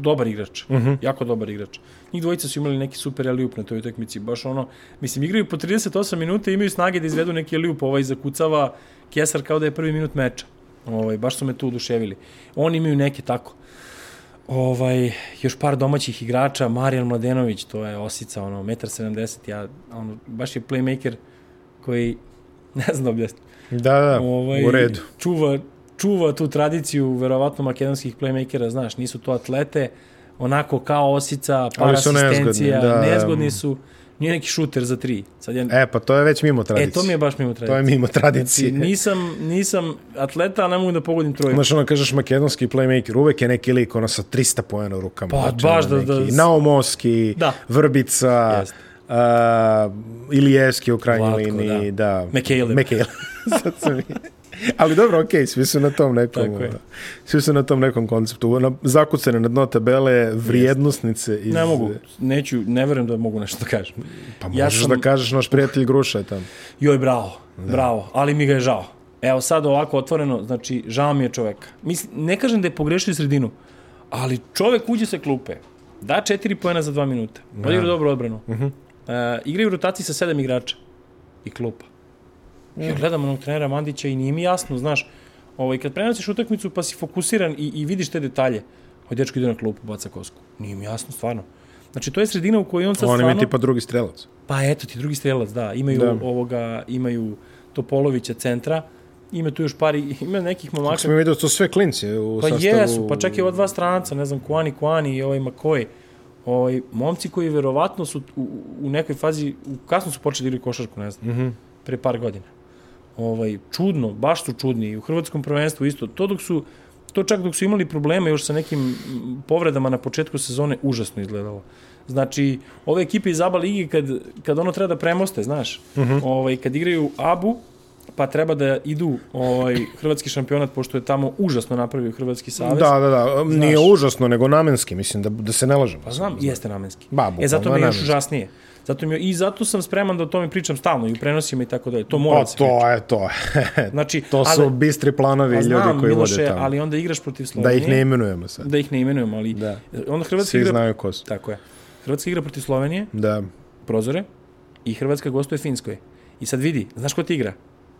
dobar igrač, uh -huh. jako dobar igrač. Njih dvojica su imali neki super eliup na toj utakmici, baš ono, mislim, igraju po 38 minuta i imaju snage da izvedu neki eliup, ovaj zakucava Kesar kao da je prvi minut meča. Ovaj, baš su me tu oduševili. Oni imaju neke tako ovaj, još par domaćih igrača, Marijan Mladenović, to je osica, ono, 1,70 m, ja, ono, baš je playmaker koji, ne znam da objasnim, Da, da, ovaj, u redu. Čuva, čuva tu tradiciju, verovatno, makedonskih playmakera, znaš, nisu to atlete, onako kao osica, par Ali su nezgodni, asistencija, da. nezgodni su, nije neki šuter za tri. Sad ja, e, E, pa to je već mimo tradicije. e, to mi je baš mimo tradicije. to je mimo tradicije. Znači, nisam, nisam atleta, a ne mogu da pogodim trojku. Znaš, ono kažeš makedonski playmaker, uvek je neki lik ono sa 300 pojena u rukama. Pa, Znači, ono baš da- da- neki Naumovski, Da. Vrbica, Jeste. a, Ilijevski u krajnjoj Vlatko, liniji. Da. Mekejlev. Mekejlev. Sad sam i- Ali dobro, okej, svi su na tom nekom, Tako je. ono, svi su na tom nekom konceptu. Na, zakucane na dno tabele, vrijednosnice. Iz, Ne mogu, neću, ne verujem da mogu nešto da kažem. Pa Ja možeš sam- da kažeš, naš prijatelj Gruša je tamo. Joj, bravo, da. bravo, ali mi ga je žao. Evo sad ovako otvoreno, znači, žao mi je čoveka. Mislim, ne kažem da je pogrešio sredinu, ali čovek uđe sa klupe, da četiri pojena za dva minuta, odigra dobro odbranu, uh -huh. uh, igraju rotaciji sa sedam igrača i klupa. Ja gledam onog trenera Mandića i nije mi jasno, znaš, ovaj, kad prenosiš utakmicu pa si fokusiran i, i vidiš te detalje, ovaj dečko ide na klupu, baca kosku. Nije mi jasno, stvarno. Znači, to je sredina u kojoj on sad On im stvarno... je tipa drugi strelac. Pa eto ti drugi strelac, da. Imaju da. Da. ovoga, imaju Topolovića centra. Ima tu još par, i- ima nekih Kako momaka. sam vidio, to su sve klinci u Pa sastavu. jesu, pa čak i ova dva stranca, ne znam, Kuani Kuani i ovaj Makoj. Ovaj, momci koji verovatno su u, u nekoj fazi, u kasno su počeli da igraju košarku, ne znam, mm -hmm. pre par godina. Ovaj, čudno, baš su čudni. I u hrvatskom prvenstvu isto. To dok su, to čak dok su imali probleme još sa nekim mm, povredama na početku sezone, užasno izgledalo. Znači, ove ekipe iz ABA ligi, kad, kad ono treba da premoste, znaš, uh Mhm. -huh. ovaj, kad igraju ABU, pa treba da idu ovaj, hrvatski šampionat, pošto je tamo užasno napravio Hrvatski savez. Da, da, da, nije užasno, nego namenski, mislim, da, da se ne lažemo. Pa znam, jeste namenski. Ba, bukvalno e, zato mi je je još namenski. užasnije. Zato mi, je- I zato sam spreman da o tome pričam stalno i u prenosima i tako dalje. To mora Pa da se priča. to je to. Znači, to su ali- bistri planovi Pa ljudi znam, koji Miloše, vode tamo. ali onda igraš protiv Da Slovenije. ih ne imenujemo sad. da ih ne imenujemo, ali da. Da. onda Hrvatska Svi igra... znaju ko su. Tako je. Hrvatska igra protiv Slovenije, Da. prozore, i Hrvatska gostuje Finskoj. I sad vidi, znaš ko ti igra?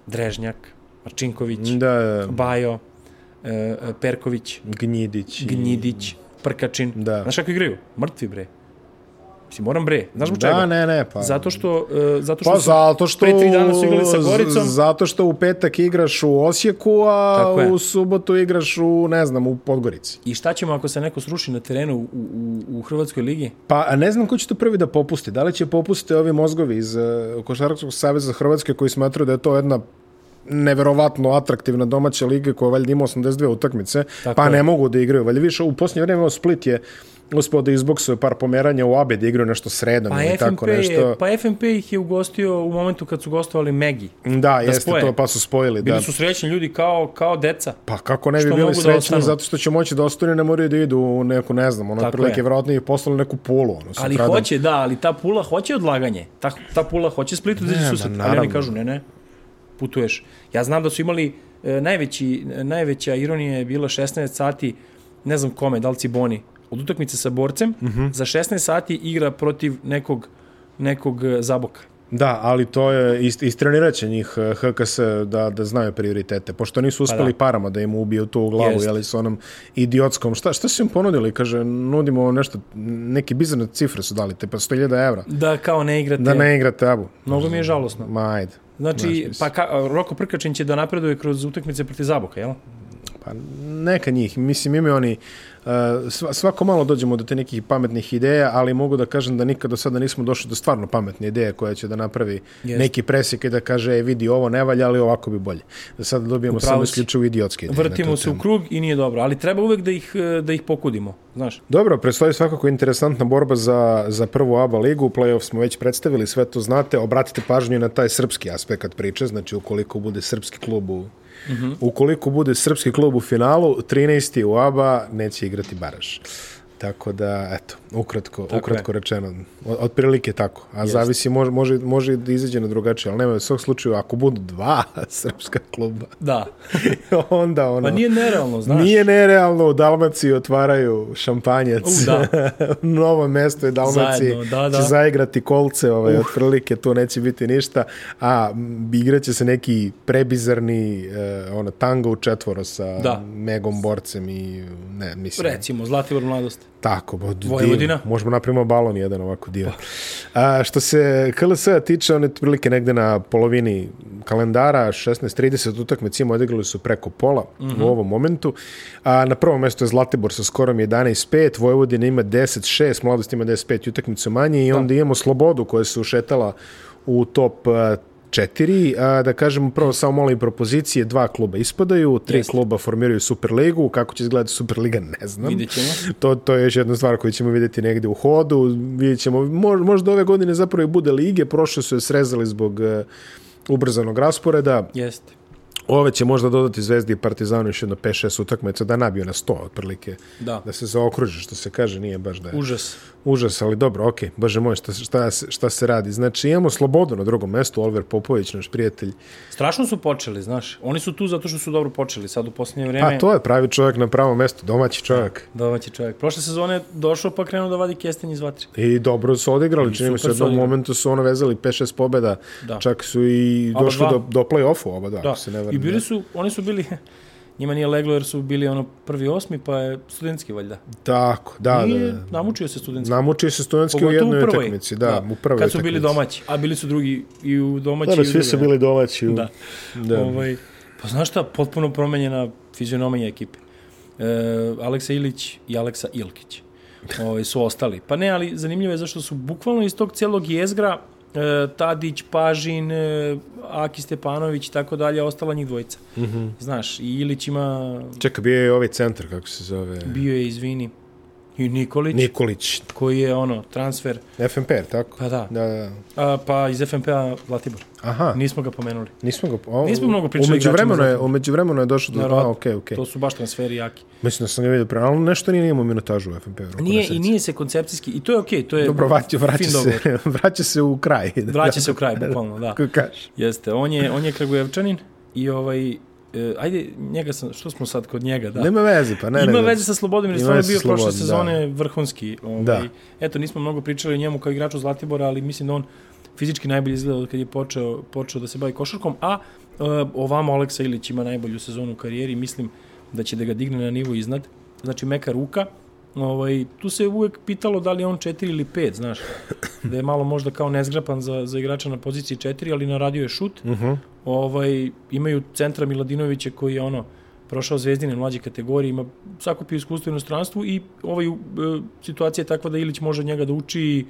Drežnjak, Marčinković, Da, da, Bajo, e, e, Perković, Gnjidić. i- Gnjidić, Prkačin. Da. Znaš kako igraju? Mrtvi bre. Mislim, moram bre. Znaš mu čega? Da, ne, ne, pa. Zato što, e, zato što Pa su- zato što... pre tri dana su igrali sa Goricom. z- Zato što u petak igraš u Osijeku, a Tako je. u subotu igraš u, ne znam, u Podgorici. I šta ćemo ako se neko sruši na terenu u, u, u Hrvatskoj ligi? Pa a ne znam ko će to prvi da popusti. Da li će popusti ovi mozgovi iz uh, Košarkarskog saveza Hrvatske koji smatraju da je to jedna neverovatno atraktivna domaća liga koja valjda ima 82 utakmice, Tako pa je. ne mogu da igraju. Valjda više u posljednje vreme evo, Split je uspio da izboksuje par pomeranja u abe da igraju nešto sredom Pa ili FNP, tako nešto. je, pa FNP ih je ugostio u momentu kad su gostovali Megi. Da, jeste spoje. to, pa su spojili. Bili da. su srećni ljudi kao, kao deca. Pa kako ne bi Što bili mogu da srećni, ostanu. zato što će moći da ostanu i ne moraju da idu u neku, ne znam, ono Tako prilike, je. vjerojatno i poslali neku polu. Ono, Ali sutradan. hoće, da, ali ta pula hoće odlaganje. Ta, ta pula hoće Splitu da Ne, izađe ma, susret. Ali naravno. oni kažu, ne, ne, putuješ. Ja znam da su imali, e, najveći, e, najveća ironija je bila 16 sati, ne znam kome, da li Ciboni, od utakmice sa borcem, Mhm. za 16 sati igra protiv nekog, nekog e, zaboka. Da, ali to je, ist, istrenirat će njih eh, HKS da, da znaju prioritete, pošto nisu uspeli parama da im ubiju to u glavu, Jeste. jeli, s onom idiotskom. Šta, šta su im ponudili? Kaže, nudimo nešto, neke bizarne cifre su dali, te pa 100.000 evra. Da kao ne igrate. Da ne igrate abu. Mnogo mi je žalosno. Ma, ajde. Znači, pa ka, Roko Prkačin će da napreduje kroz utakmice protiv Zaboka, jel? Pa neka njih, mislim imaju oni, uh, sva- svako malo dođemo do te nekih pametnih ideja, ali mogu da kažem da nikad do sada nismo došli do stvarno pametne ideje koja će da napravi Jeste. neki presjek i da kaže e, vidi ovo ne valja, ali ovako bi bolje. Da sada dobijemo Upravo samo si. isključivo idiotske ideje. na Vrtimo tu se temu. u krug i nije dobro, ali treba uvek da ih, e, da ih pokudimo, znaš. Dobro, predstoji svakako interesantna borba za, za prvu ABA ligu, playoff smo već predstavili, sve to znate, obratite pažnju i na taj srpski aspekt priče, znači ukoliko bude srpski klub u, ukoliko bude srpski klub u finalu, 13. u ABA neće igrati baraž. Tako da, eto, ukratko, ukratko rečeno, o- otprilike tako. A zavisi, može, može, može i da izađe na drugačije, ali nema u svog slučaju, ako budu dva srpska kluba, Da. onda ono... Pa nije nerealno, znaš. Nije nerealno, u Dalmaciji otvaraju šampanjac. U, da. Novo mesto je Dalmaciji. Zajedno, da, da. Će zaigrati kolce, ovaj, otprilike, tu neće biti ništa. A m, igraće se neki prebizarni eh, ono, tango u četvoro sa Da. Megom Borcem i ne, mislim. Recimo, Zlatibor mladost. Tako, bo, divno. Vojvodina. Možemo napravimo balon jedan ovako dio. A, što se KLS-a tiče, on je otprilike negde na polovini kalendara, 16.30 utakmice ima odigrali su preko pola Mhm. u ovom momentu. A, na prvom mestu je Zlatibor sa skorom 11.5, Vojvodina ima 10.6, Mladost ima 10.5 utakmicu manje Da. i onda imamo Slobodu koja se ušetala u top a, četiri, a, da kažemo prvo samo malo i propozicije, dva kluba ispadaju, tri kluba formiraju Superligu, kako će izgledati Superliga ne znam Vidjet ćemo. to, to je još jedna stvar koju ćemo vidjeti negde u hodu. Vidjet ćemo, mo- možda ove godine zapravo i bude lige, prošle su je srezali zbog e, ubrzanog rasporeda. Jeste. Ove će možda dodati Zvezdi i Partizanu još jedno 5-6 utakmica da nabiju na 100 otprilike. Da. Da se zaokruži, što se kaže, nije baš da je Užas. užas, ali dobro, okej, bože moj, šta, šta, se- šta se radi. Znači, imamo slobodu na drugom mestu, Oliver Popović, naš prijatelj. Strašno su počeli, znaš. Oni su tu zato što su dobro počeli sad u posljednje vreme. Pa to je pravi čovjek na pravom mestu, domaći čovjek. Domaći čovjek. Prošle sezone je došao pa krenuo da vadi kestenje iz vatre. I dobro su odigrali, čini mi se super u su jednom odigrali. momentu su ono vezali 5-6 pobjeda, Da. čak su i Oba došli dva. do, do play-offu oba dva, da. Da. se ne varam. I bili su, oni su bili, njima nije leglo jer su bili ono prvi osmi, pa je studentski valjda. Tako, da, da, Nije, da. namučio se studentski. Namučio se studentski u Pogotovo jednoj prvoj. utakmici, da, u prvoj Kad su bili utakmici. Da, domaći, a bili su drugi i u domaći i u drugoj. domaći. U... Da. Da. Ovaj, pa znaš šta, potpuno promenjena fizionomija ekipe. E, Aleksa Ilić i Aleksa Ilkić ovaj, su ostali. Pa ne, ali zanimljivo je zašto su bukvalno iz tog cijelog jezgra e, Tadić, Pažin, e, Aki Stepanović i tako dalje, ostala njih dvojica. Mhm. Znaš, i Ilić ima, Čekaj, bio je ovaj centar, kako se zove, bio je, izvini, i Nikolić, Nikolić, koji je ono, transfer, FNP, je li tako? Pa da. da, da. a, pa iz FNP-a Zlatibor. Aha, Nismo ga pomenuli. nismo ga... O, Nismo mnogo pričali Umeđu vremenu igračima je, umeđu vremenu je došlo do... Verovatno. A, okej, okej. To su baš transferi jaki. Mislim da sam ga vidio pre, ali nešto nije imao minutažu u FNP. Nije, I nije se koncepcijski, i to je okej, to je Dobro, vraća, vraća, fin dogovor. se, vraća se u kraj. Vraća se u kraj, bukvalno, da. Kako kažeš? Jeste, on je, on je Kragujevčanin i ovaj, e, ajde, njega sam, što smo sad kod njega, da. Nema veze, pa ne, ne. Ima ne. veze sa Slobodom, jer Ima je stvarno veze sa bio prošle Slobodom, sezone vrhunski. Ovaj. Da. Eto, nismo mnogo pričali o njemu kao igraču Zlatibora, ali mislim da on fizički najbolje izgleda od kad je počeo, počeo da se bavi košarkom, a ovamo Aleksa Ilić ima najbolju sezonu u karijeri, mislim da će da ga digne na nivo iznad. Znači, meka ruka, ovaj, tu se je uvek pitalo da li je on 4 ili 5, znaš, da je malo možda kao nezgrapan za, za igrača na poziciji 4, ali naradio je šut. Uh -huh. Ovaj, imaju centra Miladinovića koji je ono, prošao zvezdine mlađe kategorije, ima sakupio iskustvo u inostranstvu i ovaj, e, situacija je takva da Ilić može od njega da uči i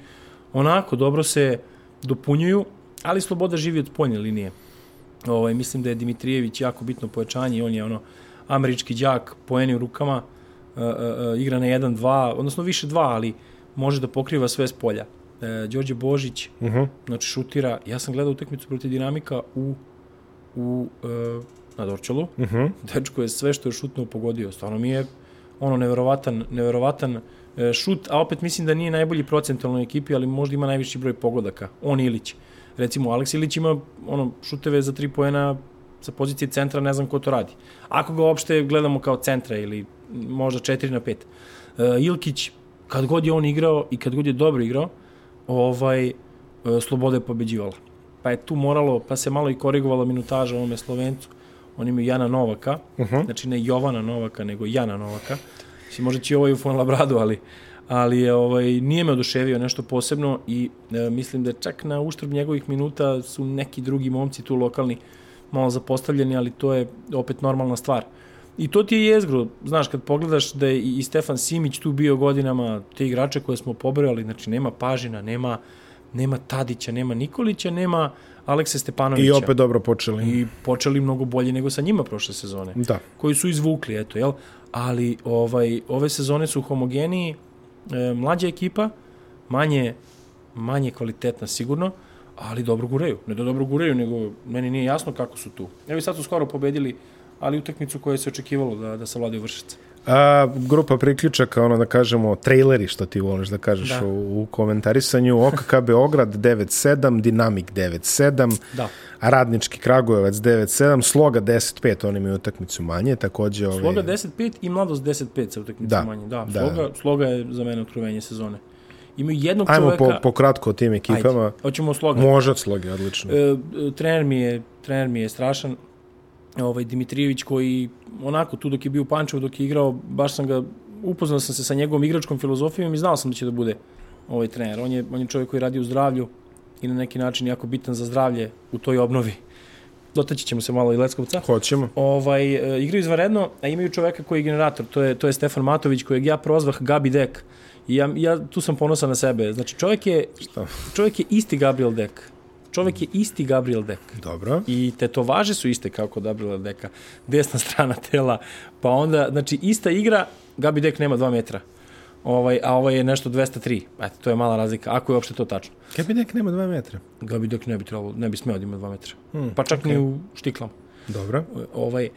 onako, dobro se dopunjuju, ali Sloboda živi od spoljne linije. Ovaj, mislim da je Dimitrijević jako bitno pojačanje i on je ono američki đak, poeni u rukama, e, e, e, igra na 1-2, odnosno više 2, ali može da pokriva sve s polja. E, Đorđe Božić, Uh -huh. znači šutira, ja sam gledao utakmicu protiv Dinamika u, u e, na Dorčalu, Uh -huh. dečko je sve što je šutnuo pogodio. Stvarno mi je ono neverovatan, neverovatan e, šut, a opet mislim da nije najbolji procentalno u ekipi, ali možda ima najviši broj pogodaka. On i Ilić. Recimo, Aleks Ilić ima ono, šuteve za tri poena sa pozicije centra, ne znam ko to radi. Ako ga uopšte gledamo kao centra ili možda 4 na 5. E, Ilkić, kad god je on igrao i kad god je dobro igrao, ovaj, e, Sloboda je pobeđivala. Pa je tu moralo, pa se malo i korigovala minutaža ovome Slovencu. On imaju Jana Novaka, Uh -huh. Znači ne Jovana Novaka, nego Jana Novaka. Znači, možda će i ovaj u Fon Labradu, ali, ali je, ovaj, nije me oduševio nešto posebno i e, mislim da čak na uštrb njegovih minuta su neki drugi momci tu lokalni malo zapostavljeni, ali to je opet normalna stvar. I to ti je jezgro, znaš, kad pogledaš da je i Stefan Simić tu bio godinama, te igrače koje smo pobrojali, znači nema Pažina, nema, nema Tadića, nema Nikolića, nema Alekse Stepanovića. I opet dobro počeli. I počeli mnogo bolje nego sa njima prošle sezone Da. koji su izvukli, eto, jel? Ali ovaj, ove sezone su homogeniji, e, mlađa ekipa, manje, manje kvalitetna sigurno, ali dobro gureju. Ne da dobro gureju, nego meni nije jasno kako su tu. Evo i sad su skoro pobedili, ali utakmicu koja se očekivalo da, da savladaju vršice. A, grupa priključaka, ono da kažemo, traileri, što ti voliš da kažeš Da. da. U, u komentarisanju, OKK Beograd 9-7, Dinamik 9-7, Da. Radnički Kragujevac 9-7, Sloga 10-5, oni imaju utakmicu manje, takođe... ovaj, Ove, Sloga 10-5 i mladost 10-5 sa utakmicom da. E. Da. manje. Da, Da. sloga, sloga je za mene otkrovenje sezone. Imaju jednog Ajmo po, čoveka... po kratko o tim ekipama. Ajde, hoćemo o sloga. Može od Sloge, odlično. E, e, trener mi je, trener mi je strašan. Ovaj Dimitrijević koji onako tu dok je bio u Pančevu, dok je igrao, baš sam ga upoznao sam se sa njegovom igračkom filozofijom i znao sam da će da bude ovaj trener. On je on je čovjek koji radi u zdravlju i na neki način jako bitan za zdravlje u toj obnovi. Dotaći ćemo se malo i Leskovca. Hoćemo. Ovaj, e, igraju izvanredno, a imaju čoveka koji je generator, to je, to je Stefan Matović, kojeg ja prozvah Gabi Dek. I ja, ja tu sam ponosan na sebe. Znači, čovjek je, Šta? čovjek je isti Gabriel Dek. Čovjek je isti Gabriel Dek. Dobro. I tetovaže su iste kao kod Gabriela Deka. Desna strana tela. Pa onda, znači, ista igra, Gabi Dek nema 2 metra. Ovaj, a ovaj je nešto 203. Eto, to je mala razlika, ako je uopšte to tačno. Kaj bi nek nema 2 metra? Gabi Dek ne bi, trebalo, ne bi smeo da ima 2 metra. Hmm, pa čak okay. ni u štiklama Dobro. ovaj,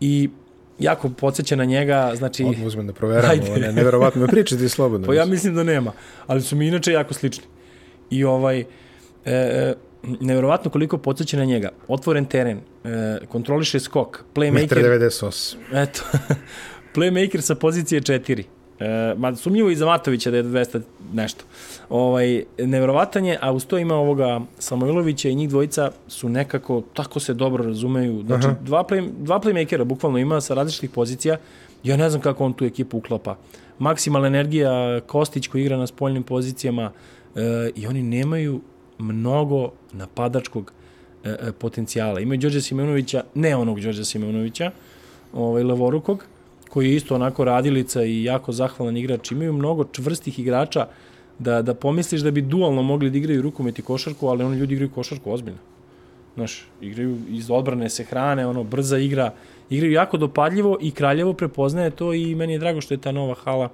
i jako podsjeća na njega, znači, Odmah uzmem da proveram. Ajde. Ajde. Ne, neverovatno me pričati slobodno. pa ja mislim da nema, ali su mi inače jako slični. I ovaj, e, e, neverovatno koliko podsjeća na njega. Otvoren teren, e, kontroliše skok, playmaker, 1,98. Eto, playmaker sa pozicije 4. E, ma sumnjivo i za Matovića da je 200 nešto. Ovaj, nevjerovatan je, a uz to ima ovoga Samoilovića i njih dvojica su nekako, tako se dobro razumeju. Znači, Aha. dva, play, dva playmakera bukvalno ima sa različitih pozicija. Ja ne znam kako on tu ekipu uklapa. Maksimalna energija, Kostić koji igra na spoljnim pozicijama e, i oni nemaju mnogo napadačkog e, e, potencijala. Imaju Đorđa Simeunovića, ne onog Đorđa Simeunovića, ovaj, levorukog, koji je isto onako radilica i jako zahvalan igrač. Imaju mnogo čvrstih igrača da, da pomisliš da bi dualno mogli da igraju rukomet i košarku, ali oni ljudi igraju košarku ozbiljno. Znaš, igraju iz odbrane, se hrane, ono, brza igra. Igraju jako dopadljivo i Kraljevo prepoznaje to i meni je drago što je ta nova hala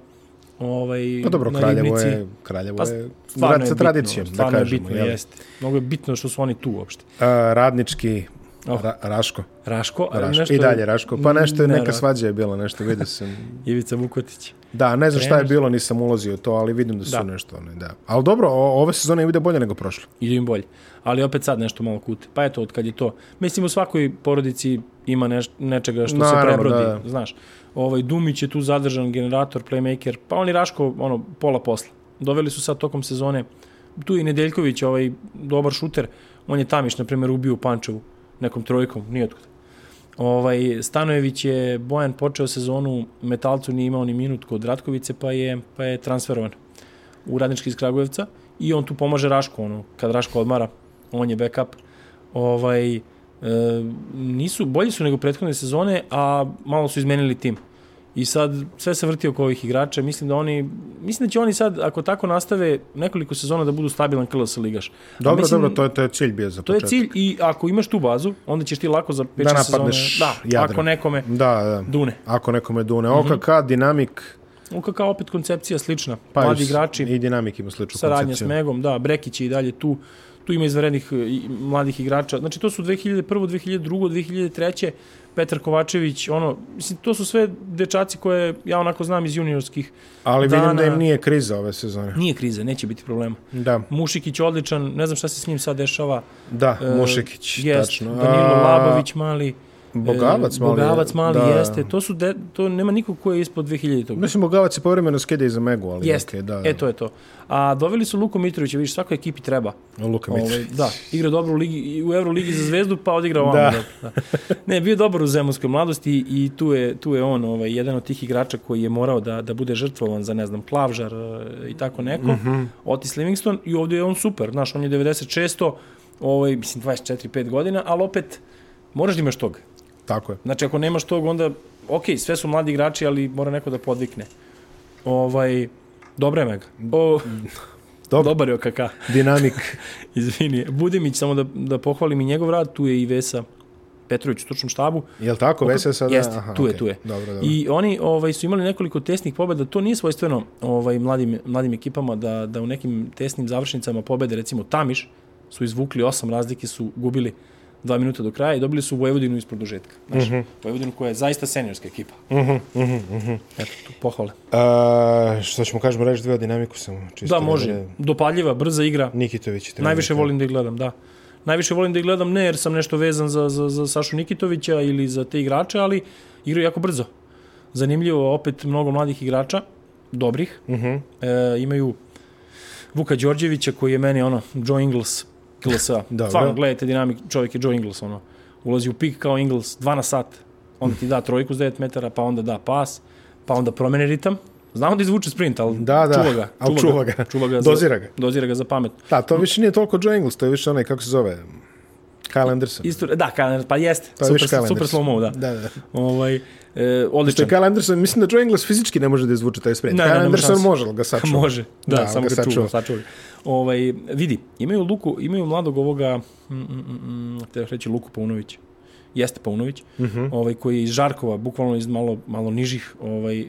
ovaj, Pa dobro, na Kraljevo Ribnici. je, Kraljevo Pa je Stvarno je grad sa bitno, tradicijom, da stvarno je kažemo. bitno, jel? jeste. Mnogo je bitno što su oni tu uopšte. A, radnički, Oh. ra, Raško. Raško, ali Raško. nešto... I dalje Raško. Pa nešto je, neka Nevjerojatno. svađa je bila, nešto vidio sam. Ivica Vukotić. Da, ne znam šta je Trener. bilo, nisam ulazio u to, ali vidim da su Da. Pa da. nešto one, da. Ali dobro, o, ove sezone ide bolje nego prošle. ide im bolje. Ali opet sad nešto malo kute. Pa eto, od kad je to. Mislim, u svakoj porodici ima neš, nečega što Naravno, Naravno, se prebrodi, da, da, da. znaš. Ovaj, Dumić je tu zadržan, generator, playmaker, pa oni Raško, ono, pola posla. Doveli su sad tokom sezone, tu i Nedeljković, ovaj dobar šuter, on je Tamiš, na primjer, ubio u Pančevu nekom trojkom, nije otkud. Ovaj, Stanojević je Bojan počeo sezonu, Metalcu nije imao ni minut kod Ratkovice, pa je, pa je transferovan u radnički iz Kragujevca i on tu pomaže Rašku, ono, kad Raško odmara, on je backup. Ovaj, e, nisu, bolji su nego prethodne sezone, a malo su izmenili tim. I sad sve se vrti oko ovih igrača, mislim da oni mislim da će oni sad ako tako nastave nekoliko sezona da budu stabilan KLS ligaš. A Dobro, mislim, dobro, to je, to je cilj bio za To je početak. cilj i ako imaš tu bazu, onda ćeš ti lako za 5 Da sezone, napadneš da, Jadran. ako nekome Da, da. dune. Ako nekome dune. Mhm. OKK, dinamik, UKK opet koncepcija slična, pa mladi i- igrači, i dinamik ima sličnu saradnja s koncepciju. Megom, da, Brekić je i dalje tu, tu ima izvarenih mladih igrača. Znači, to su 2001, 2002, 2003, Petar Kovačević, ono, mislim, to su sve dečaci koje ja onako znam iz juniorskih. Ali vidim da dana. im nije kriza ove sezone. Nije krize, neće biti problema. Da, Mušikić odličan, ne znam šta se s njim sad dešava. da, E, Mušekić, jest, tačno. Danilo A, Labović mali. Bogavac e, mali. je, Bogavac mali, da. jeste. To, su de, to nema nikog ko je ispod 2000 toga. Mislim, Bogavac je povremeno skide i za Megu, ali Jeste, okej, da. e to je to. A doveli su Luku Mitrovića, vidiš, svakoj ekipi treba. Luka Ovaj, Mitrović. da, igra dobro u, ligi, i u Euroligi za zvezdu, pa odigra ovamo. Da. Da. Ne, bio je dobar u zemunskoj mladosti i tu je, tu je on ovaj, jedan od tih igrača koji je morao da, da bude žrtvovan za, ne znam, Klavžar e, i tako neko, mm -hmm. Otis Livingston i ovdje je on super, znaš, on je 96 ovaj, mislim, 24-5 godina, ali opet, moraš da imaš tog. Tako je. Znači, ako nemaš tog, onda, ok, sve su mladi igrači, ali mora neko da podvikne. Ovaj, dobra je mega. O, Dobro. Dobar je OKK. Dinamik. Izvini, Budimić, samo da, da pohvalim i njegov rad, tu je i Vesa Petrović u stručnom štabu. Jel tako, Vese sada? Jeste, tu je, Da, okej. tu je. Dobro, dobro. I oni ovaj su imali nekoliko tesnih pobeda, to nije svojstveno ovaj mladim mladim ekipama da da u nekim tesnim završnicama pobede, recimo Tamiš su izvukli osam razlike su gubili dva minuta do kraja i dobili su Vojvodinu iz produžetka. Znaš, Vojvodinu koja je zaista seniorska ekipa. Mhm, mhm, mhm. Eto, tu pohvale. A, što E, ćemo kažemo, reći dve o dinamiku samo. Čisto Da, može. bude- Dopadljiva, brza igra. Nikitović je trener. Najviše volim da ih gledam, da. Najviše volim da ih gledam ne jer sam nešto vezan za, za, za Sašu Nikitovića ili za te igrače, ali igraju jako brzo. Zanimljivo, opet mnogo mladih igrača, dobrih. Uh Mhm. -huh. e, imaju Vuka Đorđevića koji je meni ono, Joe Ingles, KLS-a. Dobro. Stvarno, gledajte dinamik, čovjek je Joe Ingles, ono. Ulazi u pik kao Ingles, 2 na sat, onda ti da trojku s 9 metara, pa onda da pas, pa onda promene ritam. Znamo da izvuče sprint, ali Da, da, čuva ga. ali čuva ga. čuva ga Dozira ga. Za, dozira ga za pamet. Da, to više nije toliko Joe Ingles, to je više onaj, kako se zove, Kyle Anderson. Isto, da, kalendar, pa jeste. Pa Pa je super, više kalendar. super slow mo, da. Da, da. Ovaj, e, Što je odličan. Kyle Anderson, mislim da Joe Ingles fizički ne može da izvuče taj sprint. Ne, ne, Kyle nema Anderson šanse. može, ali ga sačuva. Može, da, Da, samo ga ga sačuva. čuva, sačuva. ga. Ovaj, vidi, imaju Luku, imaju mladog ovoga, mm, mm, mm, mm, te reći Luku Paunović. Jeste Paunović, Mhm. ovaj, koji je iz Žarkova, bukvalno iz malo, malo nižih, ovaj, e, e,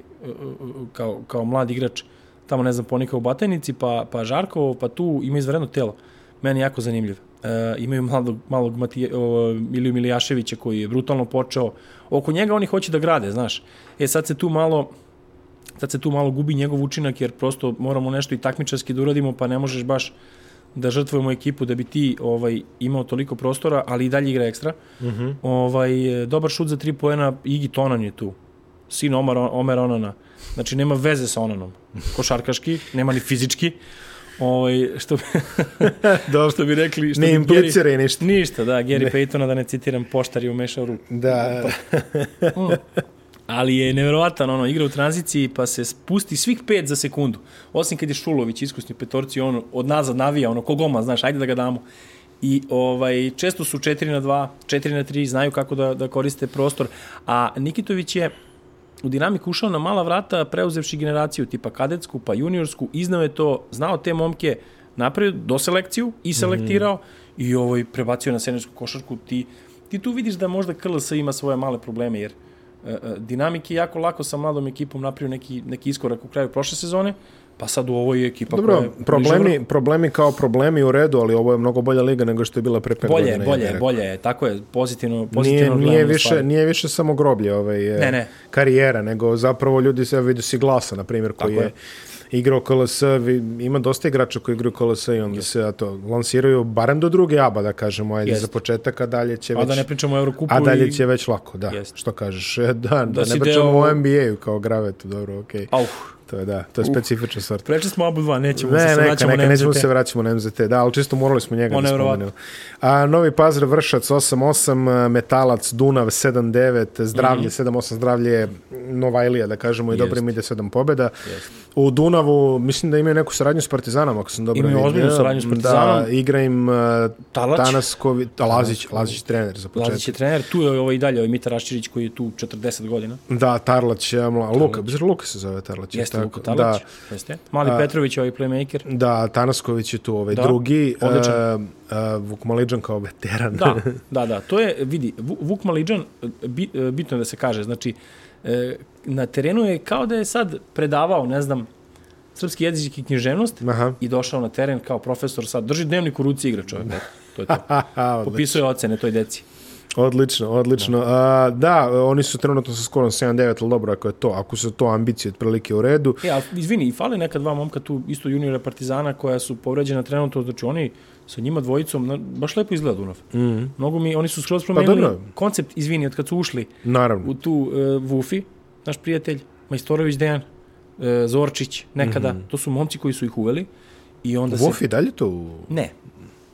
kao, kao mlad igrač, tamo ne znam, ponika u Batajnici, pa, pa Žarkovo, pa tu ima izvredno telo. Meni je jako zanimljiv. E, imaju mladog, malog Matije, o, Miliju Milijaševića koji je brutalno počeo. Oko njega oni hoće da grade, znaš. E sad se tu malo, sad se tu malo gubi njegov učinak jer prosto moramo nešto i takmičarski da uradimo pa ne možeš baš da žrtvujemo ekipu da bi ti ovaj imao toliko prostora, ali i dalje igra ekstra. Mm Mhm. -hmm. ovaj, e, dobar šut za tri poena, Igi Tonan je tu. Sin Omar, Omer Onana. Znači, nema veze sa Onanom. Košarkaški, nema ni fizički. Ovaj, što, bi- Dobro, što bi rekli... Što ne bi Gary- implicira i ništa. Ništa, da, Gary Paytona, da ne citiram, poštar je umešao ruku. Pa Da, Ali je neverovatan, ono, igra u tranziciji pa se spusti svih pet za sekundu. Osim kad je Šulović iskusni u petorci, on od nazad navija, ono, ko goma, znaš, ajde da ga damo. I ovaj, često su 4 na 2, 4 na 3, znaju kako da, da koriste prostor. A Nikitović je u dinamiku ušao na mala vrata, preuzevši generaciju tipa kadetsku, pa juniorsku, iznao je to, znao te momke, napravio doselekciju i selektirao mm. i ovaj, prebacio na seniorsku košarku. Ti, ti tu vidiš da možda KLS ima svoje male probleme, jer e, e, dinamik je jako lako sa mladom ekipom napravio neki, neki iskorak u kraju prošle sezone, pa sad u ovoj je ekipa koja Dobro, je bliže problemi, problemi kao problemi u redu, ali ovo je mnogo bolja liga nego što je bila pre 5 vrhu. bolje, godina. je, ja bolje, bih je, rekao. bolje je, tako je, pozitivno, Nije, pozitivno nije, gledamo na više, stvari. nije više samo groblje ovaj, Ne, ne. karijera, nego zapravo ljudi se vidi si glasa, na primjer, koji je, je. igrao KLS, vi- ima dosta igrača koji igraju KLS i onda se to, lansiraju barem do druge aba, da kažemo, ajde, Jest. za početak, a dalje će A već... da ne pričamo o Eurokupu A dalje i- će već lako, da. Jest. Što kažeš? E, Da, da, ne si pričamo deo- o NBA-u kao gravetu, dobro, okej. Auf, to je da, to je specifična stvar. Prečeli smo Abu 2, nećemo Ne, da se neka, vraćamo neka, na nećemo MZT. se vraćamo na MZT, da, ali čisto morali smo njega On da je verovatno. spomenemo. A, Novi Pazar, Vršac 8-8, Metalac, Dunav 7-9, Zdravlje Mhm. 7-8, Zdravlje je Novajlija, da kažemo, i dobro im ide 7 pobjeda. U Dunavu, mislim da imaju neku saradnju s Partizanom, ako sam dobro Imaju vidio. ozbiljnu saradnju s Partizanom. Da, igra im uh, Talać. Tanaskovi, a, Lazić, Lazić trener za početak. Lazić je trener, tu je ovo i dalje, ovaj Mita Raščirić koji je tu 40 godina. Da, Tarlać, ja, mla, Luka, zar Luka se zove Tarlać? je li Jeste tako? Luka Da. Talač. Jeste. Mali Petrović, ovaj playmaker. Da, Tanasković je tu ovaj Da, drugi. odličan. Uh, uh, Vuk Maliđan kao veteran. Da, da, da, to je, vidi, Vu- Vuk Maliđan, bi, e, bitno je da se kaže, znači, e, na terenu je kao da je sad predavao, ne znam, srpski jezik i književnost Aha. i došao na teren kao profesor, sad drži dnevnik u ruci i igra čovjek, eto, to je to. Aha, odli- Popisuje ocene toj deci. odlično, odlično. Da. da, oni su trenutno sa skorom 7-9, ali dobro, ako je to, ako su to ambicije otprilike u redu. E, a izvini, i fale neka dva momka tu, isto juniora Partizana, koja su povređena trenutno, znači oni sa njima dvojicom, na, baš lepo izgleda Dunav. Mm. Mnogo mi, oni su skroz promenili Mhm. Pa dobro. koncept, izvini, od kad su ušli, Naravno. u tu uh, Vufi, naš prijatelj, Majstorović Dejan, uh, Zorčić, nekada, Mhm. to su momci koji su ih uveli i onda se... Vufi dalje to u... Ne,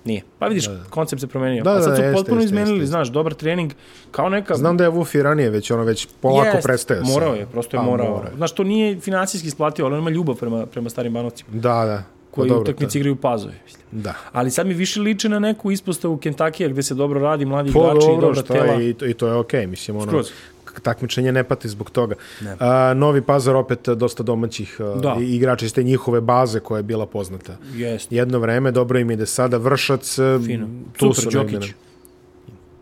nije. Pa vidiš, koncept se promenio. Da, Da, A sad da, su jeste, potpuno jeste, izmenili, jeste, znaš, dobar trening, kao neka... Znam da je Vufi ranije već, ono već polako Jest, prestaje se. Morao je, prosto je A, morao. morao je. Znaš, to nije finansijski isplatio, ali on ima ljubav prema, prema starim banovcima, Da, da. koji pa, pa, dobro, utakmici igraju pazove. Mislim. to- Da. Ali sad mi više liči na neku ispostavu Kentakija gde se dobro radi, mladi Po, igrači Pa i dobro, dobra što tela. je, i to, i to je okej, mislim, ono, Skroz. k- takmičenje ne pati zbog toga. A, Novi Pazar opet e, dosta domaćih e, Da. i- igrača iz te njihove baze koja je bila poznata. Jeste. Jedno vreme, dobro im ide sada, Vršac, e, Fino. tu Super, su negde Đokić. na-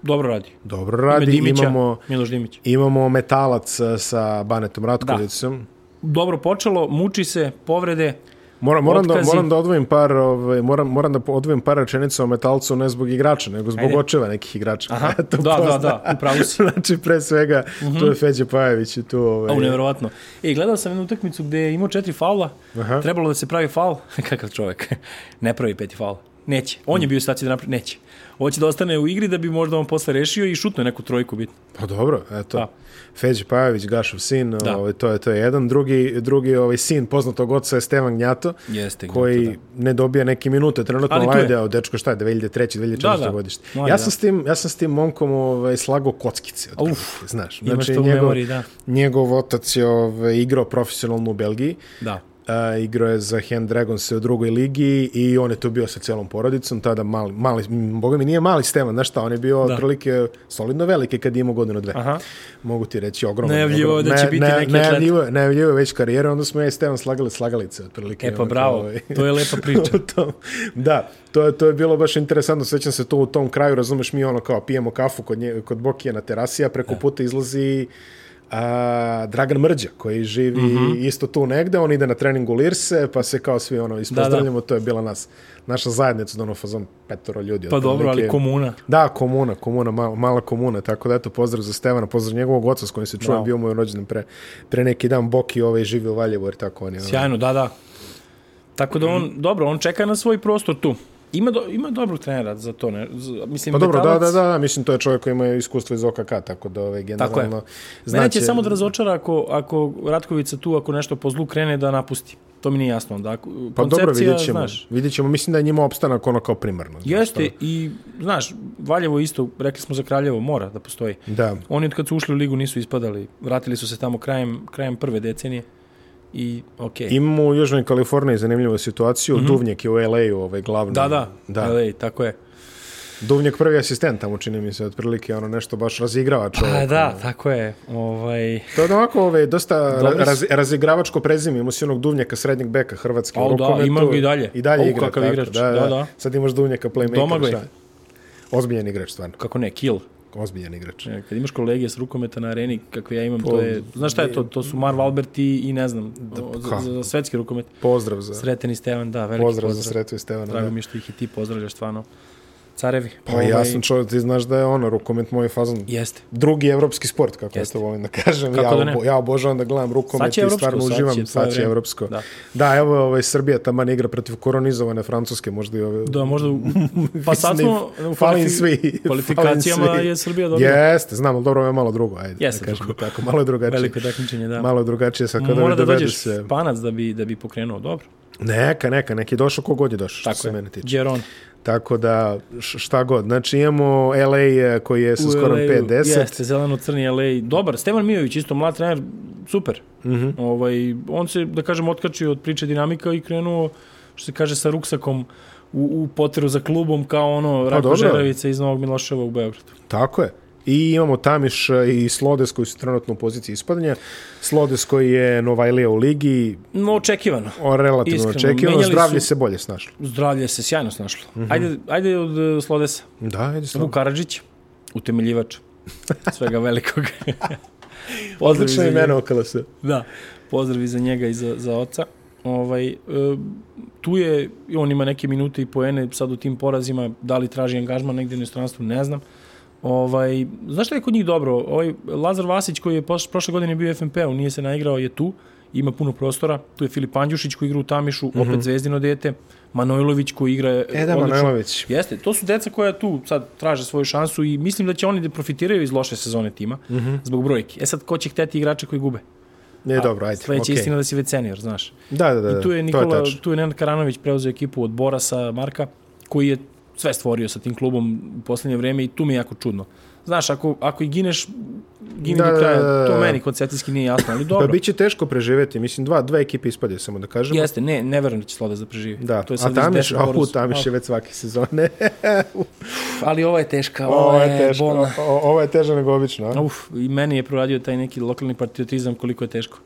Dobro radi. Dobro Ime radi, Dimića, imamo, Miloš Dimić. imamo metalac e, sa Da. Banetom Ratkovicom. Dobro počelo, muči se, povrede. Moram, moram, da, Otkazi. moram da odvojim par, ovaj, moram, moram da po- odvojim par rečenica o metalcu ne zbog igrača, nego zbog Ajde. očeva nekih igrača. Aha, To da, da, pozna- da, Mhm. upravo si. znači, pre svega, tu je Feđe Pajević i tu... Ovaj, Au, nevjerovatno. E, gledao sam jednu utakmicu gde je imao četiri faula, Aha. trebalo da se pravi faul. Kakav čovek, ne pravi peti faul. Neće. Mm. On je bio u situaciji da napravi, neće. Hoće da ostane u igri da bi možda on posle rešio i šutno je neku trojku bitno. Pa dobro, eto. Da. Feđe Pajović, Gašov sin, Da. ovaj, to, je, to je jedan. Drugi, drugi ovaj, sin poznatog oca je Stevan Gnjato, Jeste Gnjato, da. koji ne dobija neke minute. Trenutno Ali tu je. Lajdeo, dečko šta je, 2003. 2004. Da, da. godište. Mladi, ja, sam da. s tim, ja sam s tim momkom ovaj, slago kockice. otprilike, znaš. Znači, imaš to u memoriji, da. njegov otac je ovaj, igrao profesionalno u Belgiji. Da. A, igrao je za Hand Dragons u drugoj ligi i on je tu bio sa celom porodicom, tada mali, mali m, boga mi nije mali Stevan, znaš šta, on je bio da. otprilike solidno velike kad je imao godinu dve. Aha. Mogu ti reći ogromno. Najavljivao je da će biti neki atlet. najavljivo, najavljivo je već karijera, onda smo ja i Stevan slagali slagalice otprilike. E pa Ono, bravo, ovaj, to je lepa priča. Pa u tom- da, to je, to je bilo baš interesantno, sećam se to u tom kraju, razumeš, mi ono kao pijemo kafu kod, nje, kod Bokija na terasi, a Da. preko puta izlazi a, Dragan Mrđa, koji živi Mhm. isto tu negde, on ide na trening u Lirse, pa se kao svi ono ispozdravljamo, Da, to je bila nas, naša zajednica, da ono fazon petoro ljudi. Pa dobro, ali otprilike. komuna. Da, komuna, komuna, mala, mala komuna, tako da eto, pozdrav za Stevana, pozdrav njegovog oca s kojim se čujem, Bravo. bio mu je rođendan pre, pre neki dan, Boki ovaj, živi u Valjevu, jer tako on je. ono, Sjajno, da, da. Tako da on, Mhm. dobro, on čeka na svoj prostor tu. Ima, do, ima dobro trenera za to, ne? Z- Mislim, Pa dobro, da, Metalac- da, da, da, mislim to je čovjek koji ima iskustvo iz OKK, tako da ove, generalno... Tako je. Mene znaće- će samo da razočara ako, ako Ratkovica tu, ako nešto po zlu krene, da napusti. To mi nije jasno. Da, ako, Pa dobro, vidjet ćemo, Znaš, vidjet ćemo, mislim da je njima opstanak ono kao primarno. znaš, jeste i, znaš, Valjevo isto, rekli smo za Kraljevo, mora da postoji. to- Da, Oni od kad su ušli u ligu nisu ispadali. Vratili su se tamo krajem, krajem prve decenije i okej. imamo u Južnoj Kaliforniji zanimljivu situaciju, Duvnjak je u LA-u ovaj glavni. Mhm. Da, da, da. LA, tako je. Duvnjak prvi asistent tamo čini mi se, otprilike ono nešto baš razigrava čovjek. Pa da, tako je. Ovaj, To je onako ovaj, dosta Dobri su. raz, razigravačko prezime, imao si onog Duvnjaka srednjeg beka Hrvatske. u Au, da, rukometu. ima ga i dalje. I dalje Au, igra. kakav tako, igrač, Da, da, da, da. Sad imaš Duvnjaka playmaker. Domagoj. šta je. Ozbiljan igrač, stvarno. kako ne, kill. Ozbiljan igrač. E, Kad imaš kolege s rukometa na areni, kakve ja imam, to je... Znaš šta je to? To su Marv Albert i, i ne znam, o, za, Pa, da. ka. za svetski rukomet. Pozdrav za... Sreten i Stevan, da, veliki Pozdrav, pozdrav. za Sretu i Stevana. Drago Da. mi je što ih i ti pozdravljaš stvarno. carevi. ovaj, Pa ja sam čovjek, ti znaš da je ono, rukomet moj fazon. Jeste. drugi evropski sport, kako ja Jeste. to volim da kažem. Kako ja, da ne? obo- ja obožavam da gledam rukomet će i evropsko, stvarno sad će, to uživam. je Sad će vreme. evropsko. Da, Da. evo ovaj, Srbija taman igra protiv koronizovane Francuske, možda i ove... Da, možda... u- Pa sad Mislim, smo... u falim kvalifi- svi. Kvalifikacijama falim svi. je Srbija dobila. Jeste, znam, ali dobro, ovo je malo drugo, ajde. da Jeste kažemo drugo. Tako, malo je drugačije. Veliko takmičenje, da. Malo je drugačije sad kada Mora da dovedu dođeš se... španac da bi, da bi pokrenuo, dobro. Neka, neka, neki došao ko god je došao, što Tako se je. mene tiče. Geron. Tako da, š- šta god. Znači imamo LA eh, koji je sa U skorom LA-u, 5-10. Jeste, zeleno-crni LA. Dobar, Stevan Mijović, isto mlad trener, super. Mhm. ovaj, on se, da kažem, otkačio od priče dinamika i krenuo, što se kaže, sa ruksakom u, u poteru za klubom kao ono Rako Pa dobro. Žeravica iz Novog Miloševa u Beogradu. Tako je. I imamo Tamiš eh, i Slodes koji su trenutno u poziciji ispadanja. Slodes koji je Novajlija u ligi, No, očekivano. on relativno Iskreno, očekivano, menjali zdravlje su- se bolje snašlo. Zdravlje se sjajno snašlo. Mhm. Ajde, ajde od e, Slodesa. Da, ajde slabo. Vuk Karadžić, utemeljivač svega velikog. Pozdrav Odlično za njega. imena okala se. Da, pozdrav i za njega i za, za oca. Ovaj, e, tu je, on ima neke minute i poene sad u tim porazima, da li traži angažman negde u inostranstvu, ne znam. Ovaj, znaš šta je kod njih dobro? Ovaj, Lazar Vasić koji je poš, prošle godine bio u FNP-u, nije se naigrao, je tu, ima puno prostora. Tu je Filip Andjušić koji igra u Tamišu, opet Zvezdino dete. Manojlović koji igra e, Eda odlično. Manojlović. Jeste, to su deca koja tu sad traže svoju šansu i mislim da će oni da profitiraju iz loše sezone tima zbog brojke. E sad, ko će hteti igrače koji gube? Ne, dobro, ajde. Sledeća okay. okej. istina da si već senior, znaš. Da, da, da. I tu je to je Nikola, tačno. tu je Nenad Karanović preuzeo ekipu od Borasa Marka, koji je sve stvorio sa tim klubom u poslednje vreme i tu mi je jako čudno. Znaš, ako, ako i gineš, gini Da, do kraja. da, da, da. To meni koncepcijski nije jasno, ali dobro. Pa bit će teško preživeti, mislim, dva, dva ekipe ispade, samo da kažemo. Jeste, ne, ne verujem da će Slodas da preživi. Da, to je a sad već Tamiš, deset a u poraz. Tamiš je već svake sezone. Ali ova je teška, ova, Ovo je, je teško, bolna. o- ovo je teže nego obično. a? Pa, Uf, i meni je proradio taj neki lokalni patriotizam koliko je teško.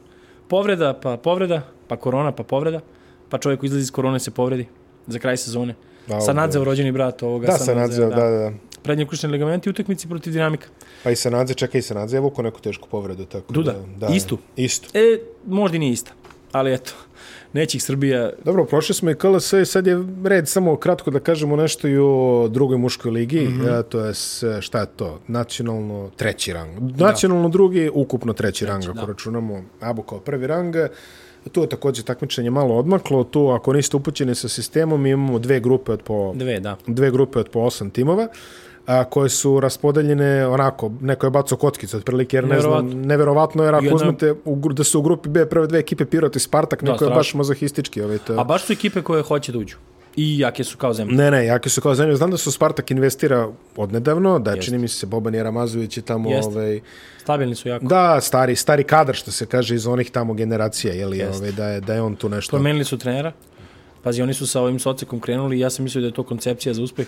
Povreda, pa povreda, pa korona, pa povreda, pa čovjek izlazi iz korone se povredi za kraj sezone. Da, Sa nadzeo rođeni brat ovoga. Da, Sanadzeo, Sanadzeo, da, da. da. Prednje krušne ligamenti u utakmici protiv dinamika. Pa i Sanadze, čekaj, i Sanadze je vuko neku tešku povredu. Tako Duda, da, da, istu. Istu. E, možda i nije ista, ali eto, neće ih Srbija... Dobro, prošli smo i KLS i sad je red samo kratko da kažemo nešto i o drugoj muškoj ligi, Mhm. e, to je s- šta je to, nacionalno treći rang. Da. Nacionalno drugi, ukupno treći rang, ako računamo Abu kao prvi rang. Tu je takođe takmičenje malo odmaklo, tu ako niste upućeni sa sistemom mi imamo dve grupe od po Dve, da. dve grupe od po osam timova a, koje su raspodeljene onako, neko je bacao kockicu otprilike, jer ne znam, Neverovatno. neverovatno jer ako Jedna- uzmete u, gru- da su u grupi B prve dve ekipe Pirot i Spartak, neko je strašno. baš mazohistički. Ovaj, to, A baš su ekipe koje hoće da uđu. I jake su kao zemlje. Ne, ne, jake su kao zemlje. Znam da su Spartak investira odnedavno, da čini mi se Boban Jeramazović je tamo... Jeste. Ovaj, Stabilni su jako. da, stari, stari kadar što se kaže iz onih tamo generacija, je li, Jeste. ovaj, da, je, da je on tu nešto... Promenili su trenera. Pazi, oni su sa ovim socekom krenuli i ja sam mislio da je to koncepcija za uspeh.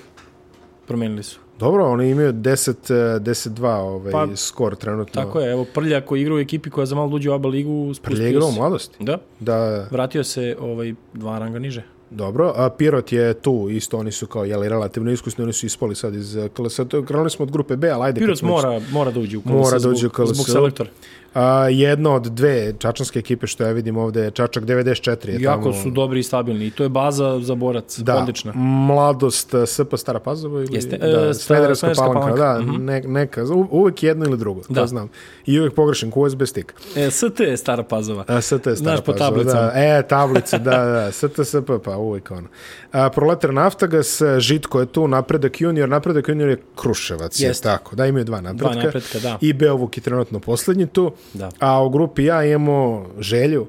Promenili su. Dobro, oni imaju 10, eh, 10-2 ovaj, Pa, skor trenutno. Tako je, evo Prlja koji igra u ekipi koja za malo uđe u ABA ligu, spustio Prlje igrao u se. mladosti. Da, Da, vratio se ovaj, dva ranga niže. Dobro, a Pirot je tu, isto oni su kao jeli relativno iskusni, oni su ispali sad iz eh, KLS. To- Krenuli smo od grupe B, ali ajde. kad Pirot smo već- mora, mora da uđe u KLS Mora da uđe u zbog, KLS. zbog selektora. A, jedna od dve čačanske ekipe što ja vidim ovde je Čačak 94. Je Jako E, tamo, su dobri i stabilni i to je baza za borac, da, odlična. Mladost eh, SP Stara Pazova ili Jeste, e, da, Stara- Smederevska Smederevska palanka, Palanka, Mhm. da, ne, neka, u- uvek jedno ili drugo, to Da. znam. I uvek pogrešim, USB stick. E, ST je stara pazova. A, ST je stara Znaš, po Pazova, tablicama. Da. E, tablice, da, da, STSP, pa uvijek ono. A, proletar Naftagas, Žitko je tu, Napredak Junior, Napredak Junior je Kruševac, je Jeste. tako, da imaju dva napretka. napretka, da. I Beovuk je trenutno poslednji tu, Da. a u grupi ja imamo Želju,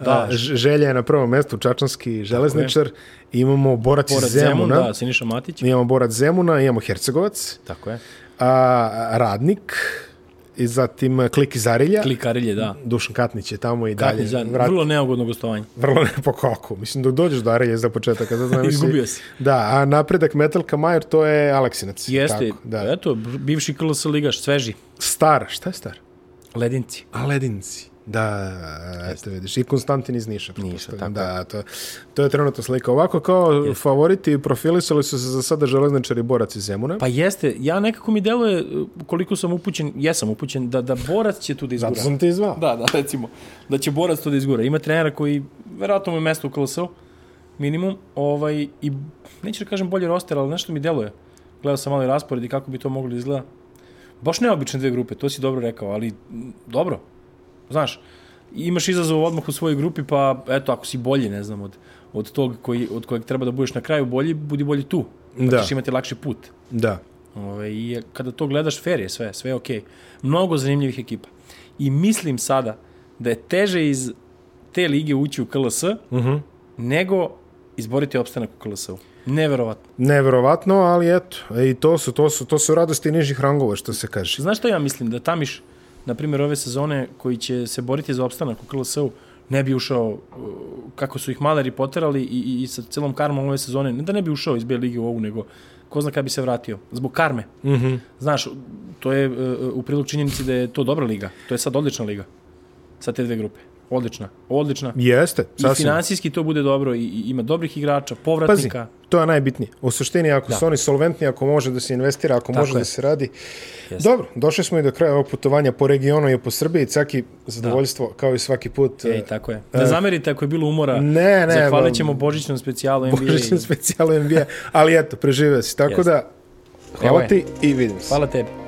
Da. A, Ž- Želja je na prvom mestu, Čačanski železničar, imamo Borac, Borac iz Zemuna, Zemun, da, Siniša Matić. imamo Borac Zemuna, imamo Hercegovac, Tako je. a, Radnik, i zatim Klik iz Arilja, Klikarilje, da. Dušan Katnić je tamo i dalje. Katnić, da, Vrat- vrlo neugodno gostovanje. Vrlo ne po koku. Mislim, dok dođeš do Arelje za početak, a da znam... Izgubio si. Da, a napredak Metalka Majer, to je Aleksinac. Jeste, Tako, da. eto, bivši KLS ligaš, sveži, Star, šta je star? ledinci. A Ledinci. Da, eto vidiš. I Konstantin iz Niša. pretpostavljam. Da, to, to je trenutno slika. Ovako kao favoriti profilisali su se za sada železničari i borac iz Zemuna. Pa jeste, ja nekako mi deluje, koliko sam upućen, jesam upućen, da, da borac će tu da izgura. Zato sam te izvao. Da, da, recimo, da će borac to da izgura. Ima trenera koji, verovatno mu je mesto u KLS-u, minimum, ovaj, i neću da kažem bolje roster, ali nešto mi deluje. gledao sam malo i raspored i kako bi to moglo da izgleda. Baš neobične dve grupe, to si dobro rekao, ali m, dobro. Znaš, imaš izazov odmah u svojoj grupi, pa eto, ako si bolji, ne znam, od, od tog koji, od kojeg treba da budeš na kraju bolji, budi bolji tu. Pa Da. ćeš imati lakši put. Da. Ove, I kada to gledaš, fair je sve, sve je okej. Mnogo zanimljivih ekipa. I mislim sada da je teže iz te lige ući u KLS nego izboriti opstanak u KLS-u. Neverovatno. Neverovatno, ali eto, e, i to su, to su, to su radosti nižih rangova, što se kaže. Znaš što ja mislim? Da Tamiš, na primjer, ove sezone koji će se boriti za opstanak u KLS-u, ne bi ušao, uh, kako su ih maleri poterali i, i, i sa celom karmom ove sezone, ne da ne bi ušao iz B lige u ovu, nego ko zna kada bi se vratio. Zbog karme. Mm Mhm. -hmm. Znaš, to je uh, u prilog činjenici da je to dobra liga. To je sad odlična liga. Sa te dve grupe. Odlična. Odlična. Jeste, I sasvim. finansijski to bude dobro i, i ima dobrih igrača, Pazi, povratnika. to je najbitnije. U suštini, ako da. su oni solventni, ako može da se investira, ako Tako može je. je. da se radi. Jeste. Dobro, došli smo i do kraja ovog putovanja po regionu i po Srbiji. Caki, zadovoljstvo, da. kao i svaki put. Ej, E, tako je. Ne zamerite ako je bilo umora. E. Ne, ne, Zahvalit ba- ćemo Božićnom specijalu NBA. Božićan specijalu NBA, ali eto, preživeo si. Tako Jeste. da, Evo hvala je. ti i vidim se. Hvala tebi.